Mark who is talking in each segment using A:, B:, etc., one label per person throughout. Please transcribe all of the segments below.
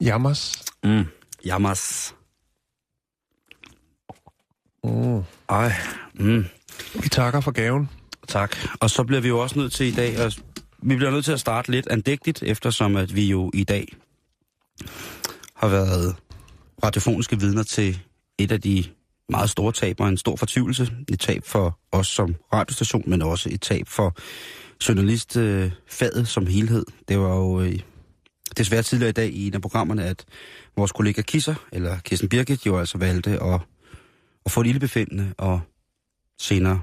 A: Jammers.
B: Mm. Jammers. Mm. Ej. Mm.
A: Vi takker for gaven.
B: Tak. Og så bliver vi jo også nødt til i dag, at, vi bliver nødt til at starte lidt andægtigt, eftersom at vi jo i dag har været radiofoniske vidner til et af de meget store tab og en stor fortvivlelse. Et tab for os som radiostation, men også et tab for journalistfaget som helhed. Det var jo øh, desværre tidligere i dag i en af programmerne, at vores kollega Kisser, eller Kirsten Birgit, jo altså valgte at, at få et ildebefindende, og senere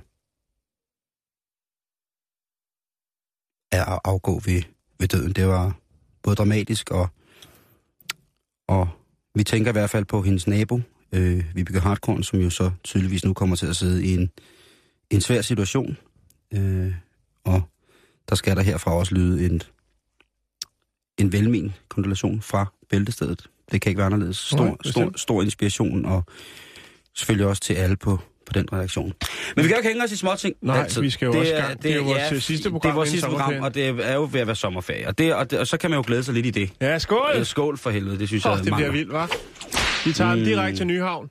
B: er at afgå ved, ved døden. Det var både dramatisk, og, og vi tænker i hvert fald på hendes nabo, øh, Vibeke Hardkorn, som jo så tydeligvis nu kommer til at sidde i en, en svær situation. Øh, og der skal der herfra også lyde en, en velmen kondolation fra Bæltestedet. Det kan ikke være anderledes. Stor,
A: Nej,
B: Nej, stor,
A: bestemt.
B: stor inspiration, og selvfølgelig også til alle på, på den redaktion. Men vi kan jo ikke hænge os i småting.
A: Nej, vi skal jo
B: det
A: også i
B: er-
A: gang. Det er jo vores, øh, sidste
B: Det
A: program
B: er vores
A: inden
B: sidste program,
A: sommerferien.
B: og det er jo ved at være sommerferie. Og, det, og, det, og så kan man jo glæde sig lidt i det.
A: Ja, skål!
B: Øh, Skål for helvede, det synes
A: Åh,
B: jeg
A: det bliver
B: mangler.
A: vildt, hva'? Vi tager mm. den direkte til Nyhavn.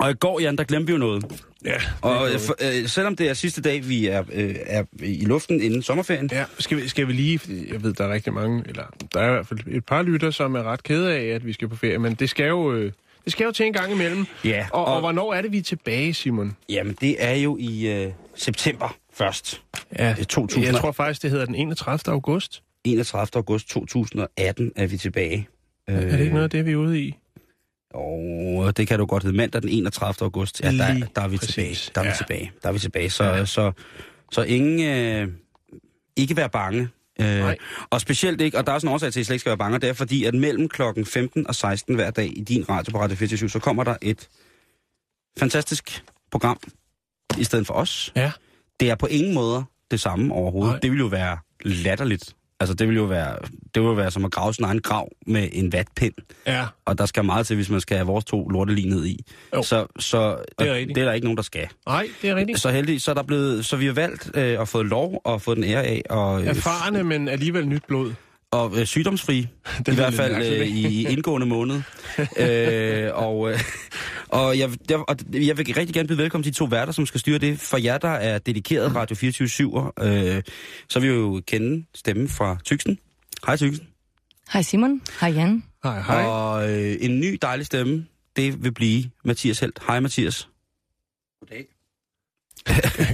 B: Og i går, Jan, der glemte vi jo noget.
A: Ja.
B: Og øh, for, øh, selvom det er sidste dag, vi er, øh, er i luften inden sommerferien,
A: Ja, skal vi, skal vi lige, fordi jeg ved, der er rigtig mange, eller der er i hvert fald et par lytter, som er ret kede af, at vi skal på ferie, men det skal jo, øh, det skal jo til en gang imellem.
B: Ja,
A: Og, og, og
B: og-
A: hvornår er det, vi er tilbage, Simon?
B: jamen det er jo i øh, september først.
A: Ja,
B: Det er 2000.
A: Jeg tror faktisk, det hedder den 31. august.
B: 31. august 2018 er vi tilbage. Øh,
A: Øh. Er det ikke noget af det, vi er ude i?
B: Og det kan du godt hedde. Mandag den 31. august, ja, der,
A: Lige
B: der er vi
A: præcis.
B: tilbage. Der er ja.
A: Ja.
B: vi tilbage. Der er vi tilbage. Så, ja. så, så ingen... Øh, ikke være bange. Øh,
A: Nej.
B: og specielt ikke, og der er også en årsag til, at I slet ikke skal være bange, og det er fordi, at mellem klokken 15 og 16 hver dag i din radio på Radio 24 så kommer der et fantastisk program i stedet for os.
A: Ja.
B: Det er på ingen måder det samme overhovedet.
A: Nej.
B: Nej. Det vil jo være latterligt. Altså, det vil jo være, det vil jo være som at grave sin egen grav med en vatpind
A: Ja.
B: og der skal meget til, hvis man skal have vores to lortelige ned i.
A: Jo.
B: Så, så
A: Det er
B: og
A: rigtigt.
B: det er der ikke nogen, der skal.
A: Nej, det er rigtigt.
B: Så heldigvis, så er der blevet, så vi har valgt øh, og fået lov og fået den ære af, og, øh,
A: Erfarne, men alligevel nyt blod.
B: og øh, sygdomsfri, i
A: lyder
B: hvert
A: lidt
B: fald
A: mærkeligt,
B: øh,
A: ikke?
B: i indgående måned. øh, og øh, og, jeg, jeg, og jeg vil rigtig gerne byde velkommen til de to værter, som skal styre det. For jer, der er dedikeret Radio 24-7'er, øh, så vil vi jo kende stemmen fra Tyksen. Hej Tyksen.
C: Hej Simon. Hej Jan.
A: Hej, hej. Og...
B: Og øh, en ny dejlig stemme, det vil blive Mathias Helt. Hej Mathias.
D: Goddag.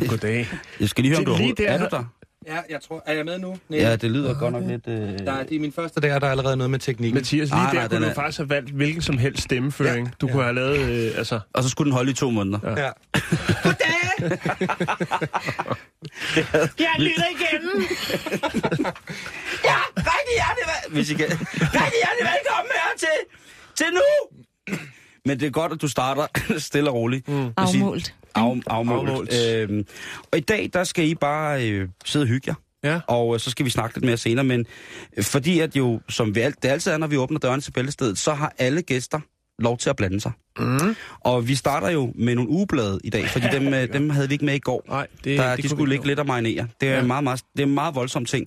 A: Goddag.
B: Jeg skal lige høre, om
A: Det
B: du
A: er lige
B: overhovedet-
A: der-
B: er du der?
D: Ja, jeg tror, er jeg med nu? Nej.
B: Ja, det lyder godt nok lidt... Øh...
D: Der er, det er min første dag, og der er allerede noget med teknikken.
A: Mathias, lige
B: Nej,
A: der
B: nej,
A: kunne
B: den
A: du
B: er-
A: faktisk have valgt hvilken som helst stemmeføring. Ja. Du kunne have lavet, øh, altså...
B: Og så skulle den holde i to måneder. Ja.
D: ja.
C: Jeg lytter igen.
B: Rigtig hjertelig, vel- Hvis I kan. Rigtig hjertelig velkommen her til, til nu! Men det er godt, at du starter stille og roligt. Mm.
C: Afmålt.
B: Af, afmålt.
A: Afmålt.
B: Øhm, og i dag, der skal I bare øh, sidde og hygge jer.
A: Ja.
B: Og øh, så skal vi snakke lidt mere senere. Men øh, fordi at jo, som vi alt, det altid er, når vi åbner dørene til bæltestedet, så har alle gæster lov til at blande sig.
A: Mm.
B: Og vi starter jo med nogle ugeblade i dag, fordi dem, øh, dem havde vi ikke med i går.
A: Nej, det,
B: Der,
A: det
B: de
A: kunne
B: skulle
A: vi
B: ligge
A: ikke
B: lidt og marinere. Det er,
A: Ja.
B: ja. meget, meget, det er en meget voldsom ting.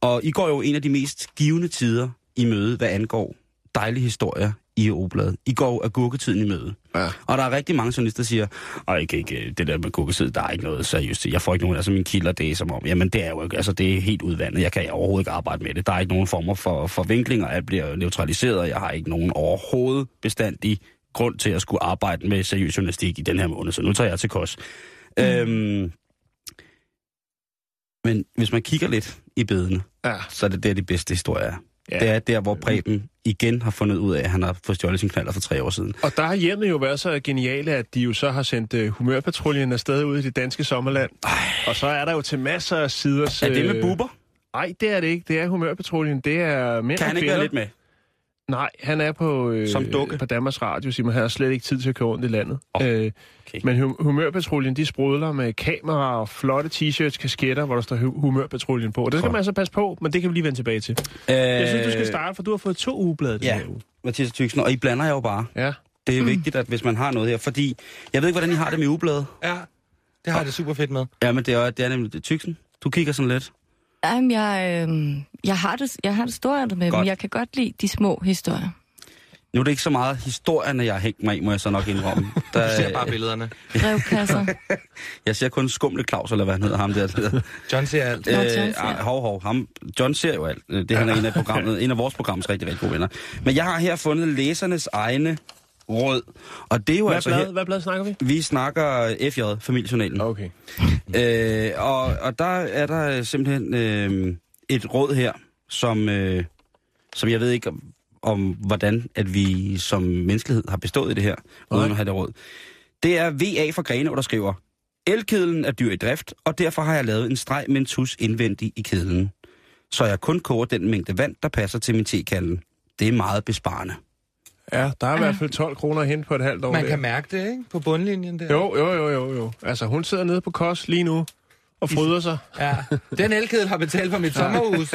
B: Og I går jo en af de mest givende tider i møde, hvad angår dejlige historier i Obladet. I går er gurketiden i møde.
A: Ja.
B: Og der er rigtig mange journalister, der siger, Ej, jeg kan ikke, øh, det der med gurketid, der er ikke noget seriøst. til. Jeg får ikke nogen, altså mine kilder, det er som om, jamen det er jo ikke, altså det er helt udvandet. Jeg kan overhovedet ikke arbejde med det. Der er ikke nogen former for, for vinklinger, alt bliver neutraliseret, jeg har ikke nogen overhovedet bestandig grund til at skulle arbejde med seriøs journalistik i den her måned, så nu tager jeg til kos. Mm. Øhm, men hvis man kigger lidt i bedene,
A: Ja.
B: så er det der, de bedste historier er.
A: Ja.
B: Ja. Det er der, hvor Preben igen har fundet ud af, at han har fået stjålet sin knaller for tre år siden.
A: Og der har hjemmet jo været så geniale, at de jo så har sendt uh, humørpatruljen afsted ud i det danske sommerland. Ej. Og så er der jo til masser af sider...
B: Er det med buber?
A: Nej, Øh, det er det ikke. Det er humørpatruljen. Det er mænd
B: Kan
A: og
B: han ikke
A: kvinder.
B: være lidt med?
A: Nej, han er på, øh,
B: Som dukke?
A: på Danmarks Radio, Simon. Han har slet ikke tid til at køre rundt i landet.
B: Åh,
A: øh,
B: okay.
A: Men hum- humørpatruljen, de sprudler med kameraer og flotte t-shirts, kasketter, hvor der står hu- humørpatruljen på. Og det skal man altså passe på, men det kan vi lige vende tilbage til.
B: Øh,
A: Jeg synes, du skal starte, for du har fået to ugeblade den
B: Ja,
A: her uge.
B: Mathias Tyksen, og I blander jer jo bare.
A: Ja.
B: Det er mm. vigtigt, at hvis man har noget her, fordi jeg ved ikke, hvordan I har det med ugebladet.
D: Ja, det har jeg det super fedt med.
B: Ja, men det er, det er nemlig det. Tyksen. Du kigger sådan lidt.
E: Jamen, jeg, øh, jeg, har det, jeg har det stort med dem.
B: Godt.
E: Jeg kan godt lide de små historier.
B: Nu er det ikke så meget historierne, jeg har hængt mig i, må jeg så nok indrømme. Der,
D: Du ser bare billederne.
E: Brevkasser.
B: jeg ser kun skumle Claus, eller hvad han hedder ham der. der.
D: John ser alt.
E: Nå, John
B: Øh,
E: ser.
B: ah, hov, hov. Ham, John ser jo alt. Øh, Det han er en af, programmet, en af vores programs rigtig, rigtig gode venner. Men jeg har her fundet læsernes egne råd. Og det er jo
A: Hvad,
B: altså
A: blad,
B: her,
A: hvad blad snakker vi?
B: vi snakker FJ, familiejournalen.
A: Okay.
B: Øh, og, og der er der simpelthen øh, et råd her, som, øh, som jeg ved ikke om, om, hvordan at vi som menneskelighed har bestået i det her, uden
A: Nej.
B: at have det råd. Det er VA fra Grenå, der skriver, Elkedlen er dyr i drift, og derfor har jeg lavet en streg med en tus indvendig i kedlen. Så jeg kun koger den mængde vand, der passer til min tekanden. Det er meget besparende.
A: Ja, der er i hvert fald 12 kroner at hente på et halvt år.
D: Man
A: der.
D: kan mærke det, ikke? På bundlinjen der.
A: Jo, jo, jo, jo, jo. Altså, hun sidder nede på kost lige nu og fryder sig.
D: Ja. Den elkedel har betalt for mit sommerhus.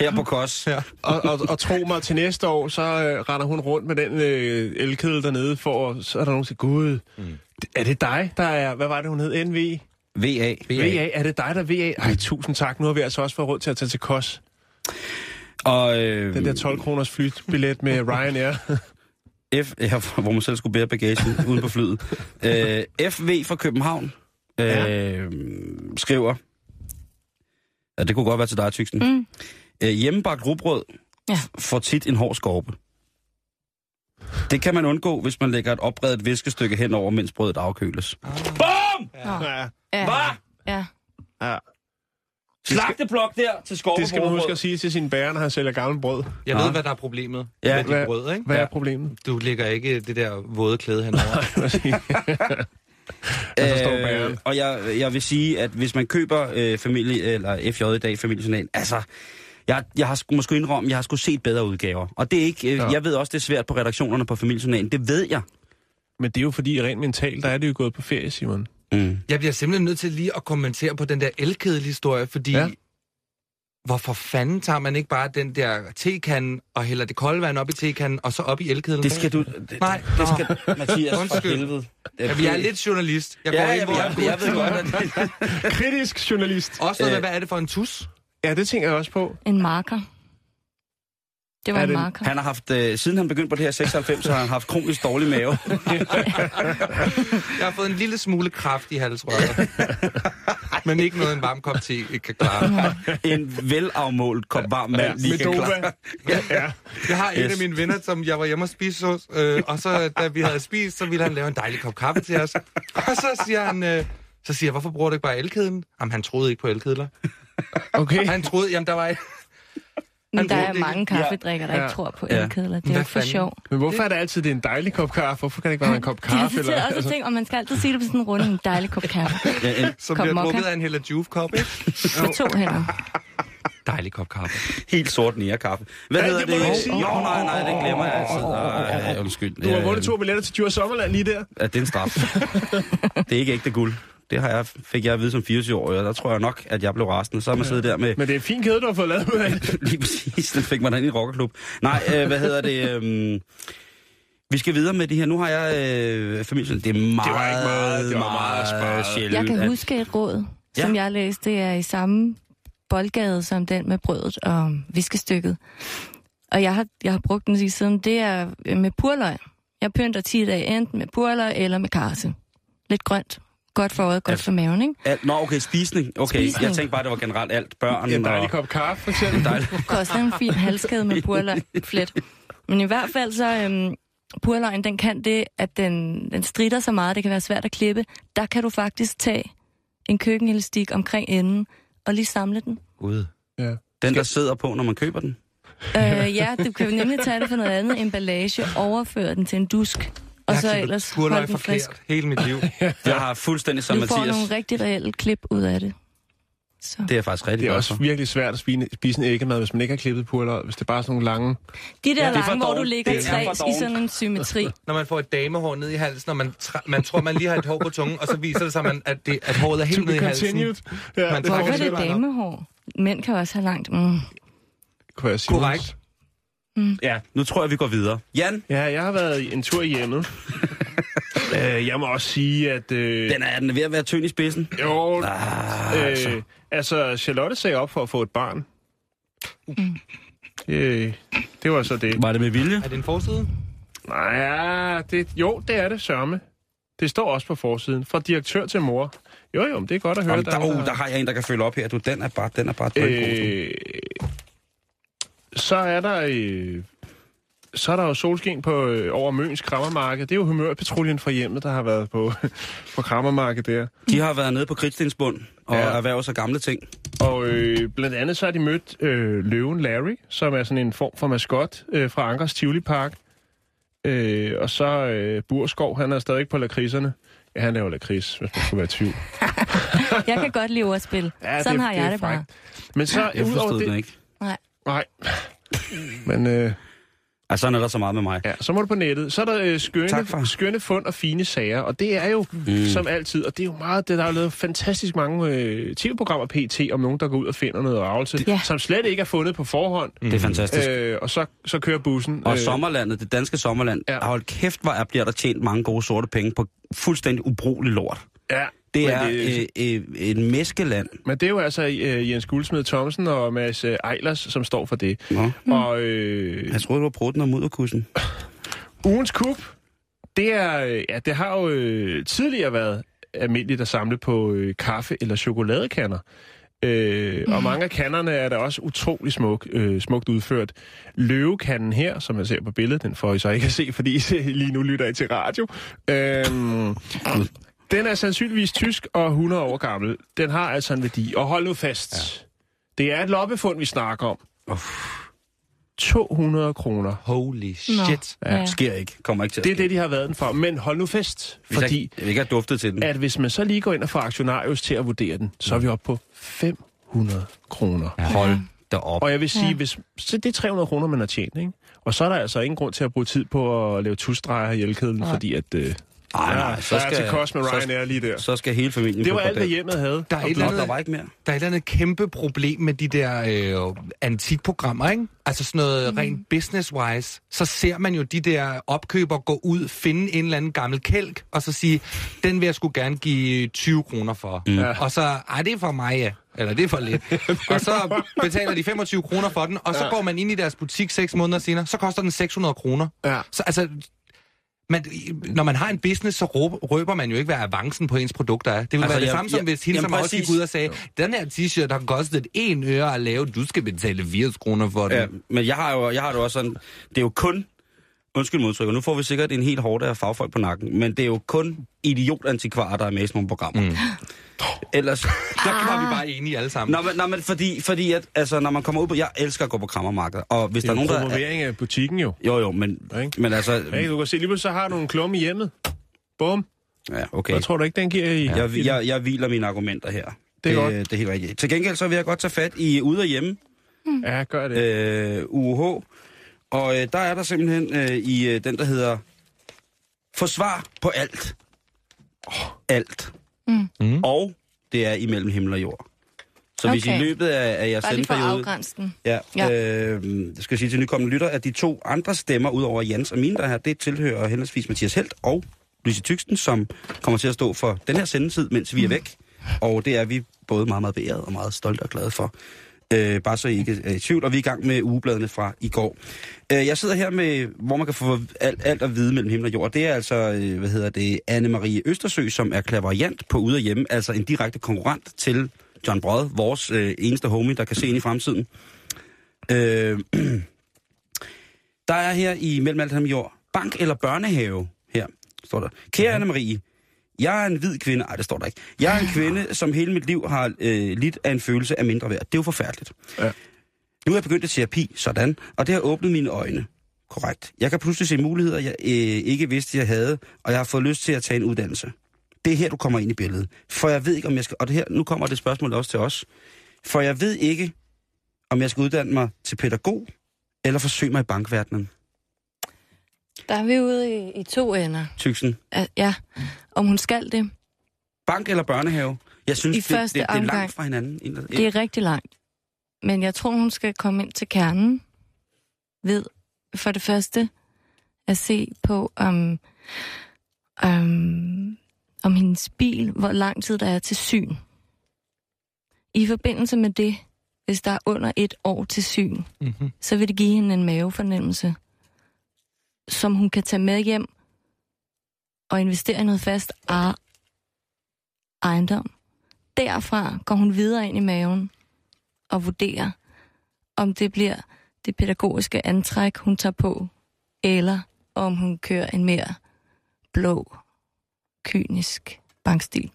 B: Her på KOS.
D: Ja.
A: Og, og, og tro mig, til næste år, så øh, render hun rundt med den øh, elkedel dernede, for at- så er der nogen, der siger, Gud, er det dig, der er, hvad var det, hun hed, NV?
B: VA.
A: VA, er det dig, der er VA? Ej, tusind tak, nu har vi altså også fået råd til at tage til KOS.
B: Og, øh,
D: Mm.
A: Den der 12-kroners flybillet med Ryanair.
B: F, ja, hvor man selv skulle bære bagagen uden på flyet. Øh, FV fra København øh, ja. skriver, ja, det kunne godt være til dig, Tyksen. Mm. Øh, hjemmebagt rugbrød
E: Ja.
B: ja. får tit en hård skorpe. Det kan man undgå, hvis man lægger et opredet viskestykke henover, mens brødet afkøles.
A: ja.
E: Ja. Ja.
B: Slagteblok der til skorpe
A: Det skal man huske at sige til sine bærer, når han sælger gammel brød.
D: Jeg
B: Nå.
D: ved, hvad der er problemet
B: Ja,
D: med dit
A: hvad-
D: brød, ikke?
A: Hvad er problemet?
D: Du lægger ikke det der våde klæde henover.
A: Og så Altså, står bageren.
B: og jeg, jeg vil sige, at hvis man køber øh, familie, eller FJ i dag, familiejournalen, altså, jeg, jeg har sgu- måske indrømme, jeg har sgu set bedre udgaver. Og det er ikke, øh,
A: Ja.
B: ja. jeg ved også, det er svært på redaktionerne på familiejournalen. Det ved jeg.
A: Men det er jo fordi, rent mentalt, der er det jo gået på ferie, Simon.
B: Mm.
D: Jeg bliver simpelthen nødt til lige at kommentere på den der elkedel-historie, fordi...
A: Ja.
D: Ja. Hvorfor fanden tager man ikke bare den der tekanden og hælder det kolde vand op i tekanden og så op i elkedlen?
B: Det skal du... Det,
D: Nej,
B: det
D: nå.
B: skal Mathias for
D: Undskyld.
B: helvede.
D: Jamen, jeg er lidt journalist. Jeg
B: Ja,
D: går
B: jeg,
D: ind,
B: jeg,
D: hvor
B: jeg, jeg ved godt, at det,
A: Kritisk journalist.
D: Også noget med,
B: Øh.
D: hvad er det for en tus?
A: Ja, det tænker jeg også på.
E: En marker. Det var
A: Er
E: en
A: det-
E: marker.
B: han har haft, øh, siden han begyndte på det her 96, så har han haft kronisk dårlig mave.
D: Jeg har fået en lille smule kraft i halsrøret. Men ikke noget, en varm kop te ikke kan klare.
B: En velafmålt kop varm
A: Ja,
B: mand lige
A: med
B: kan klare.
A: Dova. Ja.
D: Jeg har en
B: Yes.
D: af mine venner, som jeg var hjemme og spise hos, øh, og så da vi havde spist, så ville han lave en dejlig kop kaffe til os. Og så siger han, øh, så siger jeg, hvorfor bruger du ikke bare elkedlen? Jamen, han troede ikke på elkedler.
A: Okay.
D: Han troede, jamen der var ikke...
E: Men der
D: bruger
E: er
D: det ikke.
E: mange kaffedrikker, der
A: Ja.
E: ikke tror på
B: Ja.
E: elkedler. Det er
D: Hvad
E: jo ikke for
D: fanden?
E: sjov.
A: Men hvorfor er det altid, det er en dejlig kop kaffe? Hvorfor kan det ikke være en kop kaffe? Altså,
E: jeg sidder også og tænker, og man skal altid sige det på sådan en runde, en dejlig kop kaffe.
B: Ja, en
D: Som
E: Kop
D: bliver
E: mokka.
D: drukket af en heller juve-kop, ikke?
E: På to hænder.
D: Dejlig kop kaffe.
B: helt sort nærkaffe. Hvad
A: Ja,
B: hedder
A: det må
B: det?
A: du ikke
B: Jo,
A: sige.
B: nej, nej, det glemmer jeg altid. Nej, ja, undskyld.
A: Du har
B: Øh,
A: vundet to billetter til Djurs Sommerland lige der.
B: Ja, det er en straf. det er ikke ægte guld. Det har jeg, fik jeg at vide som 24-årig, og der tror jeg nok, at jeg blev rasende. Så har man siddet der med...
A: Men det er en fin kæde, du har fået lavet ud af. det.
B: Lige præcis, den fik man da ind i rockerklub. Nej, øh, hvad hedder det? øhm, vi skal videre med det her. Nu har jeg øh, familien. Det er meget,
A: var ikke meget, det var meget sparet.
B: sjældent.
E: Jeg
B: at-
E: kan huske et råd,
B: Ja.
E: som jeg læste. Det er i samme boldgade som den med brødet og viskestykket. Og jeg har, jeg har brugt den lige siden. Det er øh, med purløg. Jeg pynter 10 dage enten med purløg eller med karse. Lidt grønt. Godt for øjet, godt for maven, ikke?
B: Alt, nå, okay, spisning. Okay,
E: Spisning.
B: jeg tænkte bare, det var generelt alt. Børn
A: En dejlig
B: og...
A: kop kaffe, for eksempel.
B: Dejlig.
E: Koster en fin halskæde med purløg. Flet. Men i hvert fald så, øhm, purløgn, den kan det, at den, den strider så meget, det kan være svært at klippe. Der kan du faktisk tage en køkkenhelistik omkring enden og lige samle den.
B: Gud.
A: Ja.
B: Den, der sidder på, når man køber den.
E: Øh, ja, du kan jo nemlig tage det for noget andet emballage, overføre den til en dusk, og så ellers holde den frisk.
D: forkert hele mit liv.
B: Jeg har fuldstændig som
E: Du får
B: Mathias.
E: nogle rigtig reelle klip ud af det. Så.
B: Det er jeg faktisk rigtig
A: Det er
B: glad
A: også
B: for.
A: virkelig svært at spine, spise en æggemad, hvis man ikke har klippet purløg, hvis det er bare sådan nogle lange...
E: De der
B: Ja, det er
E: ja,
B: for
E: lange, hvor du
B: dovent.
E: ligger
B: Det er
E: tre
B: for
E: i
B: dovent.
E: sådan en symmetri.
D: Når man får et damehår ned i halsen, og man, tr- man tror, man lige har et hår på tungen, og så viser det sig, man, at, det, at håret er helt ned i halsen.
A: Ja,
D: Man
A: det
D: får
E: Hvorfor er
D: det
E: det damehår? Mænd kan også have langt. Mm.
A: kunne jeg sige.
D: Korrekt.
B: Ja, nu tror jeg, vi går videre. Jan,
A: Ja, jeg har været i en tur hjemme. øh, jeg må også sige, at... Øh,
B: den er, den er ved at være tynd i spidsen.
A: jo,
B: Ah, altså.
A: øh, altså, Charlotte sagde op for at få et barn.
B: Mm.
A: Øh, det var så det.
B: Var det med vilje?
D: Er det en forside?
A: Nej, ja, det, jo, det er det sørme. Det står også på forsiden. Fra direktør til mor. Jo, jo, men det er godt at høre.
B: Om, der,
A: er-
B: oh, der har jeg en, der kan følge op her. Du, den er bare, den er bare, du er en god, du.
A: Øh, så er der... Øh, så er der jo solskin på, øh, over Møns krammermarked. Det er jo humørpatruljen fra hjemmet, der har været på, på krammermarked der.
B: De har været nede på Kridtstensbund og ja.
A: Ja.
B: erhvervet sig gamle ting.
A: Og øh, blandt andet så har de mødt øh, løven Larry, som er sådan en form for maskot øh, fra Ankers Tivoli Park. Øh, og så øh, Burskov, han er stadig på lakridserne. Ja, han laver lakrids, hvis man skulle være i tvivl.
E: Jeg kan godt lide ordspil.
A: Ja,
E: sådan
A: det,
E: har jeg det,
A: er
E: bare.
A: frækt. Men så,
B: Jeg
A: udover
B: forstod den
A: det...
B: ikke.
A: Nej. Men øh,
B: Altså, sådan er der så meget med mig.
A: ja, så må du på nettet. Så er der øh,
B: Tak, far.
A: skønne, skønne fund og fine sager, og det er jo mm. som altid, og det er jo meget, det der er jo lavet fantastisk mange øh, tv-programmer PT om nogen, der går ud og finder noget arvelse,
E: Ja.
A: ja. som slet ikke er fundet på forhånd,
B: Det er fantastisk. Øh,
A: øh, og så, så kører bussen.
B: og sommerlandet, det danske sommerland, ja.
A: Øh, Ja.
B: hold kæft, hvor er, bliver der tjent mange gode sorte penge på fuldstændig ubrugelig lort.
A: Øh, Ja,
B: Det
A: men
B: er
A: Det,
B: øh, øh, et meskeland.
A: men det er jo altså øh, Jens Guldsmed Thomsen og Mads øh, Eilers, som står for det.
B: Nå.
A: Mm. Og øh,
B: Jeg troede, du var proten og mudderkussen.
A: ugens kub, det, er, øh, ja, det har jo øh, tidligere været almindeligt at samle på øh, kaffe- eller chokoladekanner. Øh, og mange af kannerne er da også utrolig smuk, øh, smukt udført. Løvekanden her, som jeg ser på billedet, den får I så ikke at se, fordi I ser- lige nu lytter I til radio. Øh, Den er sandsynligvis tysk og 100 år gammel. Den har altså en værdi. Og hold nu fast. Ja. Det er et loppefund, vi snakker om.
B: Uff,
A: 200 kroner.
D: Holy shit.
E: Nå. Ja.
B: sker ikke. Kommer ikke til at
A: Det er
B: ske.
A: det, de har været den for. Men hold nu fast,
B: Hvis jeg-
A: fordi
B: Jeg, vil ikke Mm. har duftet til den.
A: at hvis man så lige går ind og får aktionarius til at vurdere den, så er vi oppe på 500 kroner.
B: Hold da op.
A: Og jeg vil sige, ja. hvis, så det er 300 kroner, man har tjent, ikke? Og så er der altså ingen grund til at bruge tid på at lave tusdrejer i elkedlen, fordi at... Øh,
B: Ej, nej,
A: så
B: så
A: der er til
B: skal,
A: kost med
B: så-
A: Ryanair lige der.
B: så skal hele familien
A: Det
B: på
A: var alt, hvad
B: bordet.
A: hjemmet havde.
D: Der er, et
B: Nå,
D: eller
B: der var
D: andet,
B: ikke mere.
D: der er et eller andet kæmpe problem med de der øh, antikprogrammer, ikke? Altså sådan noget mm. rent business-wise. Så ser man jo de der opkøber gå ud, finde en eller anden gammel kælk, og så sige, den vil jeg sgu gerne give 20 kroner for. Mm. Og så, ej, det er for mig, ja. Eller det er for lidt. og så betaler de 25 kroner for den, og så ja. går man ind i deres butik 6 måneder senere, så koster den 600 kroner.
A: Ja.
D: Så altså, man, når man har en business, så råb, røber man jo ikke, hvad avancen på ens produkter er. Det ville
B: Altså,
D: altså, være det
B: jeg-
D: samme som
B: jeg-
D: hvis hende,
B: jamen,
D: som også
B: præcis.
D: gik ud og sagde, den her t-shirt har kostet en øre at lave, du skal betale 80 kroner for den.
B: Ja, Øh, men jeg har jo jeg har det også sådan, det er jo kun, undskyld modtryk, og nu får vi sikkert en helt hårde af fagfolk på nakken, men det er jo kun idiotantikvarer, der er med i sådan nogle programmer. Mm. Ellers,
D: Der var vi bare enige alle sammen.
B: Nå, men, nå, men fordi, fordi at, altså, når man kommer ud på... Jeg elsker at gå på krammermarkedet, og hvis
A: Det
B: der
A: er
B: er nogen, der... Er,
A: promovering af butikken jo.
B: jo, jo, men,
A: Ikke?
B: men altså...
A: Hey, du kan se, lige pludselig så har du en klumme i hjemmet. Bum.
B: Ja,
A: Okay.
B: okay.
A: Hvad tror du ikke, den giver i?
B: Jeg,
A: i
B: jeg, jeg hviler mine argumenter her.
A: Det er godt.
B: det er helt rigtigt. Til gengæld så vil jeg godt tage fat i Ude og Hjemme,
A: Ja, gør det.
B: øh, UH. Og øh, der er der simpelthen øh, i øh, den, der hedder Forsvar på alt. Oh, alt. Mm. Og det er imellem himmel og jord. Så okay. hvis i
E: Okay.
B: løbet af, af jeres
E: Bare lige for at
B: sendeperiode...
E: afgrænse den.
B: Ja, ja.
E: Ja.
B: Øh, jeg skal sige til nykommende lytter, at de to andre stemmer, udover Jens og mine, der er her, det tilhører henholdsvis Mathias Helt og Louise Tyksten, som kommer til at stå for den her sendetid, mens vi er væk. Og det er vi både meget, meget beæret og meget stolte og glade for. Øh, bare så I ikke er i tvivl, og vi er i gang med ugebladene fra i går. Øh, jeg sidder her med, hvor man kan få alt, alt at vide mellem himmel og jord. Det er altså, øh, hvad hedder det, Anne-Marie Østersø, som er klaveriant på Ude og Hjemme, altså en direkte konkurrent til John Brød, vores øh, eneste homie, der kan se ind i fremtiden. Øh, der er her i Mellem Alt og Jord bank eller børnehave her, står der. Kære Anne-Marie, jeg er en hvid kvinde. Nej, det står der ikke. Jeg er en kvinde, som hele mit liv har øh, lidt af en følelse af mindre værd. Det er jo forfærdeligt.
A: Ja.
B: Nu er jeg begyndt at terapi, sådan, og det har åbnet mine øjne. Korrekt. Jeg kan pludselig se muligheder, jeg øh, ikke vidste, jeg havde, og jeg har fået lyst til at tage en uddannelse. Det er her, du kommer ind i billedet. For jeg ved ikke, om jeg skal... Og det her, nu kommer det spørgsmål også til os. For jeg ved ikke, om jeg skal uddanne mig til pædagog, eller forsøge mig i bankverdenen.
E: Der er vi ude i, i to ender.
B: Tyksen.
E: Al- Ja, om hun skal det.
B: Bank eller børnehave? Jeg synes,
E: I
B: det, det,
E: første
B: det, er langt
E: omgang.
B: fra hinanden. En- en-
E: Det er rigtig langt. Men jeg tror, hun skal komme ind til kernen ved for det første at se på, om, om, om hendes bil, hvor lang tid der er til syn. I forbindelse med det, hvis der er under et år til syn,
D: Mm-hmm.
E: så vil det give hende en mavefornemmelse, som hun kan tage med hjem og investere i noget fast ar- ejendom. Derfra går hun videre ind i maven og vurderer, om det bliver det pædagogiske antræk, hun tager på, eller om hun kører en mere blå, kynisk bankstil.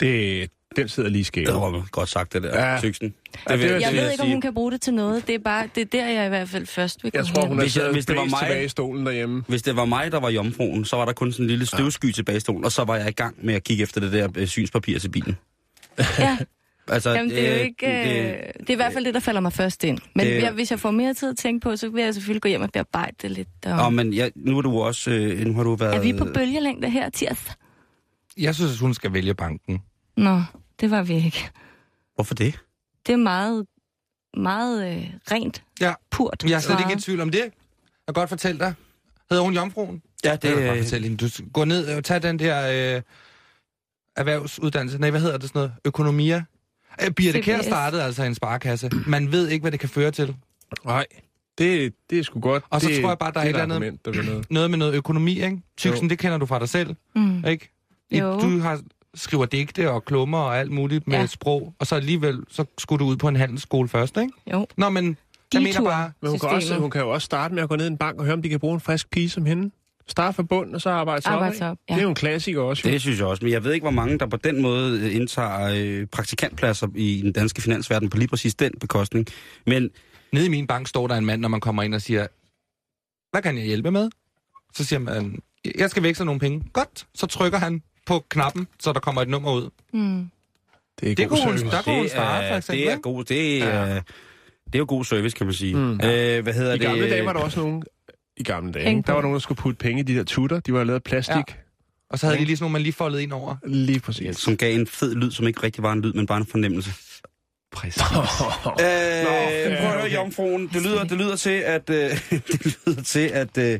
A: Det, den sidder lige i skævet.
B: Det var godt sagt, det der,
A: Ja.
B: ja. Tyksen.
A: Ja, det-
E: Jeg
A: vil
E: ved
A: jeg
E: ikke, om
A: sige.
E: hun kan bruge det til noget. Det er bare det er der, jeg i hvert fald først vil
A: Jeg
E: komme
A: tror,
E: hen.
A: hun er
B: Hvis jeg-
A: siddet
B: hvis det var
A: blæst
B: mig-
A: tilbage i stolen derhjemme.
B: Hvis det var mig, der var jomfruen, så var der kun sådan en lille støvsky tilbage i stolen, og så var jeg i gang med at kigge efter det der øh, synspapir til bilen.
E: Ja.
B: Altså,
E: Jamen, det er jo
B: øh,
E: ikke... Øh, det, det er i hvert fald det, der falder mig først ind. Men
B: det-
E: det, jeg, hvis jeg får mere tid at tænke på, så vil jeg selvfølgelig gå hjem og bearbejde det lidt. Og,
B: Nå,
E: om,
B: men ja, nu har du også øh, nu har du været...
E: øh, er vi på bølgelængde her, Tirs?
D: Jeg synes, at hun skal vælge banken.
E: Nå, det var vi ikke.
B: Hvorfor det?
E: Det er meget, meget øh, rent,
D: Ja.
E: purt.
D: Jeg er slet ikke i
E: svaret.
D: tvivl om det. Jeg kan godt fortælle dig. Hedder hun Jomfruen?
B: Ja,
D: Det kan jeg bare
B: øh,
D: fortælle hende. Du s- går ned og tager den der øh, erhvervsuddannelse. Nej, hvad hedder det sådan noget? Økonomia? Øh, Birte Kær
E: CBS.
D: startede altså en sparekasse. Man ved ikke, hvad det kan føre til.
A: Nej, det, det er sgu godt.
D: Og så
A: det,
D: tror jeg bare, der er
A: det
D: et eller andet-
A: argument, der vil noget.
D: Noget med noget økonomi, ikke?
A: Jo.
D: Tyksen, det kender du fra dig selv,
E: Mm.
D: ikke? I,
E: Jo.
D: du har skriver digte og klummer og alt muligt med
E: Ja.
D: ja. sprog, og så alligevel, så skulle du ud på en handelsskole først, ikke?
E: Jo.
D: Nå, men jeg mener
E: Detur.
D: bare,
A: Men hun kan,
E: systemet.
A: også, hun kan jo også starte med at gå ned i en bank og høre, om de kan bruge en frisk pige som hende. Start fra bunden, og så arbejde sig
E: Arbejde
A: op,
E: sig
A: ikke?
E: op, ja.
A: Det er jo en klassiker også. Jo.
B: Det synes jeg også, men jeg ved ikke, hvor mange, der på den måde øh, indtager øh, praktikantpladser i den danske finansverden på lige præcis den bekostning. Men
D: nede i min bank står der en mand, når man kommer ind og siger, hvad kan jeg hjælpe med? Så siger man, jeg skal veksle nogle penge. Godt, så trykker han på knappen, så der kommer et nummer ud.
E: Mm.
A: Det er,
D: Det kunne hun, der kunne hun
B: det,
D: starte, for
B: er,
D: eksempel.
B: det, er
D: ikke?
B: god, det, er,
A: Ja.
B: det er jo god service, kan man sige.
A: Mm.
B: Mm. Øh, hvad hedder
A: I
B: det?
A: gamle dage var der også nogen... I gamle dage,
E: Penge
A: ikke? der var
E: på.
A: nogen, der skulle putte penge i de der tutter. De var lavet af plastik. Ja.
D: Og så havde de lige sådan nogle, man lige foldede ind over.
A: Lige præcis.
B: Som gav en fed lyd, som ikke rigtig var en lyd, men bare en fornemmelse.
D: Præcis.
B: Øh,
A: ja,
B: prøv at høre,
A: okay.
B: jomfruen. Det lyder, det lyder til, at, øh, det lyder til, at, øh,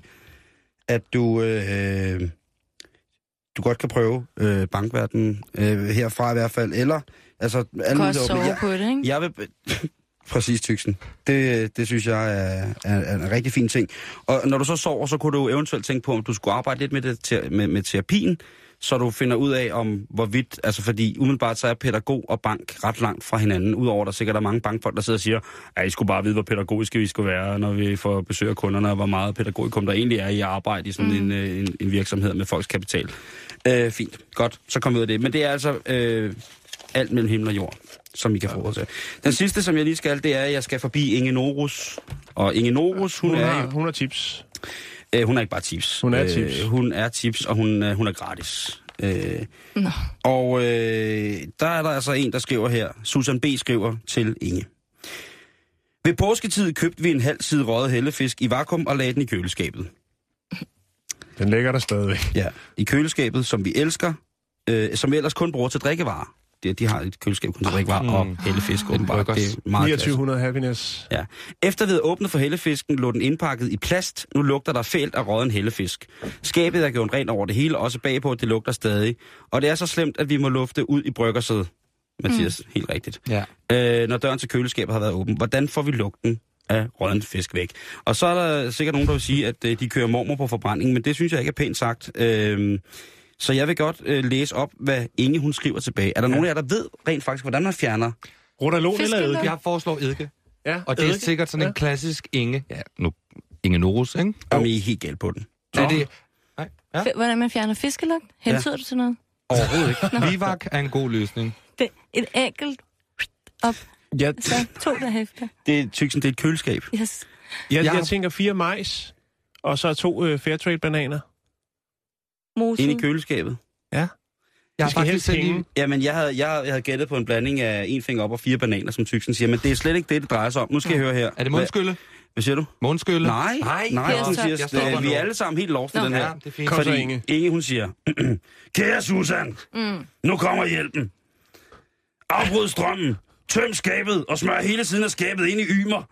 B: at du, øh, du godt kan prøve øh, bankverdenen øh, herfra i hvert fald. Eller, altså,
E: Du
B: alle
E: kan
B: muligheder
E: også
B: åbne.
E: sove
B: jeg,
E: på det, ikke?
B: jeg vil... Præcis, Tyksen. Det, det synes jeg er, er, er en rigtig fin ting. Og når du så sover, så kunne du jo eventuelt tænke på, om du skulle arbejde lidt med, det, ter- med, med terapien, så du finder ud af, om hvorvidt... Altså, fordi umiddelbart så er pædagog og bank ret langt fra hinanden, udover at der sikkert er mange bankfolk, der sidder og siger, at I skulle bare vide, hvor pædagogiske vi skulle være, når vi får besøg af kunderne, og hvor meget pædagogikum der egentlig er i at arbejde i sådan mm. en, øh, en, en virksomhed med folks kapital. Øh, fint. Godt. Så kom vi ud af det. Men det er altså... Øh, alt mellem himmel og jord, som I kan få råd til. Den sidste, som jeg lige skal, det er, at jeg skal forbi Inge Norus. Og Inge Norus, hun,
A: Hun,
B: hun, er,
A: har,
B: jo-
A: hun har tips.
B: øh, hun er ikke bare tips. Øh,
A: Hun er tips.
B: hun er tips, og hun, øh, hun er gratis. Øh,
E: Nå.
B: og øh, der er der altså en, der skriver her. Susan B. skriver til Inge. Ved påsketid købte vi en halv side røget hellefisk i vakuum og lagde den i køleskabet.
A: Den ligger der stadigvæk.
B: Ja, i køleskabet, som vi elsker, øh, som vi ellers kun bruger til drikkevarer. De, de har et køleskab kun til drikkevarer
D: Mm.
B: og hellefisk, åbenbart. Det
D: bryggers.
B: er meget klasse.
A: 2900 happiness.
B: Ja. Efter vi havde åbnet for hellefisken, lå den indpakket i plast. Nu lugter der fælt af råden hellefisk. Skabet er gjort rent over det hele, også bagpå, det lugter stadig. Og det er så slemt, at vi må lufte ud i bryggersædet. Mathias, mm. helt rigtigt.
D: Ja.
B: Øh, når døren til køleskabet har været åben, hvordan får vi lugten af råden fisk væk? Og så er der sikkert nogen, der vil sige, at øh, de kører mormor på forbrænding, men det synes jeg ikke er pænt sagt. Øh, så jeg vil godt øh, læse op, hvad Inge hun skriver tilbage. Er der ja. nogen af jer, der ved rent faktisk, hvordan man fjerner?
A: Rotalon eller
E: Fiskeløg.
A: eddike?
D: Jeg foreslår Edke,
A: Ja,
D: og det er
A: eddike.
D: sikkert sådan en klassisk Inge. Ja, nu Inge Norus, ikke?
B: Om I er helt galt på den.
D: Er det... Nej, ja.
E: F- Hvordan man fjerner fiskelugt? Hentyder ja. du til noget?
D: Overhovedet ikke. Livak er en god løsning.
E: Det, et enkelt op,
B: Ja,
E: så to derhefter.
B: det er tyksen, det er et køleskab.
E: Yes.
A: Jeg,
D: Jeg
A: jeg,
D: har-
A: jeg tænker fire majs, og så to øh, Fairtrade-bananer.
E: Mosen.
B: Ind i køleskabet.
D: Jeg
A: Det
D: har
A: skal
D: faktisk
A: helst
D: selv lige...
A: hænge.
B: Jamen, jeg havde, jeg, havde- jeg havde gættet på en blanding af en finger op og fire bananer, som tyksen siger, men det er slet ikke det, det drejer sig om. Nu skal jeg høre her.
D: Er det
B: Hvad,
D: månskylde?
B: hvad siger du?
D: Månskylde?
B: Nej, nej, nej
E: Per,
B: hun
E: så-
B: siger,
E: jeg
B: øh,
D: stopper
B: vi
D: nu.
B: er alle sammen helt lost i
E: Nå.
B: den
D: Ja,
B: her.
D: det er fint.
A: Kom så,
B: Fordi
A: Inge.
B: Inge, hun siger, kære Susan,
E: Mm.
B: nu kommer hjælpen. Afbryd strømmen, tøm skabet og smør hele siden af skabet ind i ymer.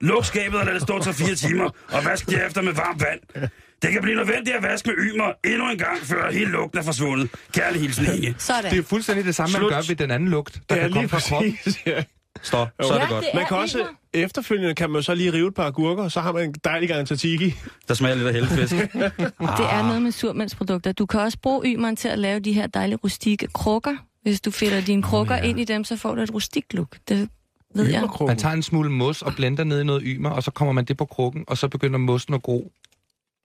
B: Luk skabet og lad det stå til fire timer, og vask derefter med varmt vand. Det kan blive nødvendigt at vaske med ymer endnu en gang, før hele lugten er forsvundet. Kærlig hilsen, Inge.
E: Sådan.
D: Det er fuldstændig det samme, man
A: Slut.
D: gør ved den anden lugt, der kan komme fra kroppen.
A: ja.
B: Stop,
A: så er
E: det godt.
A: Man kan også, efterfølgende kan man jo så lige rive et par agurker, og så har man en dejlig gang tzatziki.
B: Der smager lidt af helvedefisk.
E: Det er noget med surmændsprodukter. Du kan også bruge ymeren til at lave de her dejlige rustikke krukker. Hvis du fedter dine krukker ind i dem, så får du et rustikt look. Det ved jeg.
D: Man tager en smule mos og blender ned i noget ymer, og så kommer man det på krukken, og så begynder mossen at gro.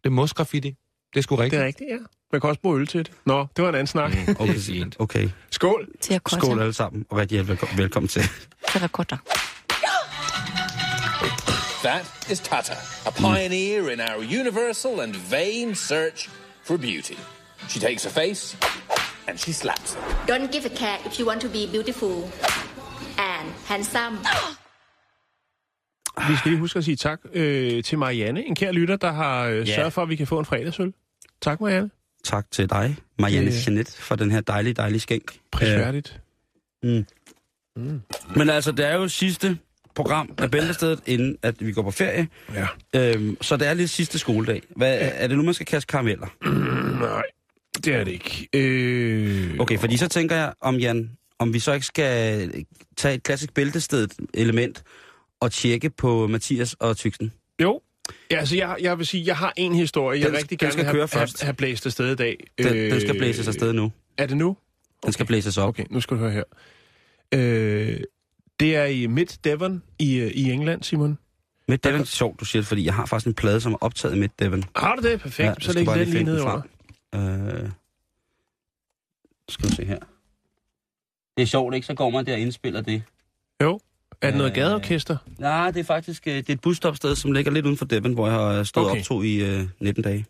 D: Det er mosgraffiti. Det er sgu rigtigt.
A: Det er rigtigt, ja. Man kan også bruge øl til det. Nå, det var en anden snak.
D: Mm.
B: Okay,
D: fint.
B: okay.
A: Skål.
E: Til at korte.
B: skål alle sammen, og rigtig hjælp, velkommen, velkommen til.
E: Til rekorder.
F: That is Tata, a pioneer in our universal and vain search for beauty. She takes a face and she slaps it.
G: Don't give a care if you want to be beautiful and handsome.
A: Vi skal lige huske at sige tak øh, til Marianne, en kær lytter, der har øh, sørget for, at vi kan få en fredagsøl. Tak, Marianne.
B: Tak til dig, Marianne
A: Øh.
B: Jeanette, for den her dejlige, dejlige skænk. Øh,
A: Prisværdigt.
B: Men altså, det er jo sidste program af Bæltestedet, inden at vi går på ferie.
A: Ja.
B: Øhm, så det er lidt sidste skoledag. Hvad, Er det nu, man skal kaste karameller?
A: Nej, det er det ikke. Øh,
B: Okay, fordi så tænker jeg, om Jan, om vi så ikke skal tage et klassisk bæltestedet element og tjekke på Mathias og Tyksen.
A: Jo. Ja, altså, jeg, jeg vil sige, jeg har en historie, jeg
B: Den-
A: rigtig
B: den
A: gerne
B: skal
A: vil
B: køre
A: have, have,
B: først.
A: have blæst afsted i dag.
B: Den, øh, den skal blæses afsted nu.
A: Er det nu?
B: Den skal blæses op.
A: Okay, nu skal du høre her. Øh, det er i Midt Devon i, øh, i England, Simon.
B: Midt Devon, sjovt du siger det, fordi jeg har faktisk en plade, som er optaget i Midt Devon.
A: Har du det? Perfekt.
B: jeg
A: så
B: skal
A: læg
B: bare
A: den lige
B: finde
A: ned
B: den
A: under.
B: frem. Øh, skal vi se her. Det er sjovt, ikke? Så går man der og indspiller det.
A: Jo. Er det noget
B: Øh,
A: gadeorkester?
B: Nej, det er faktisk øh, det er et busstopsted, som ligger lidt uden for Devon, hvor jeg har stået okay.
A: Okay.
B: optog i øh, 19 dage.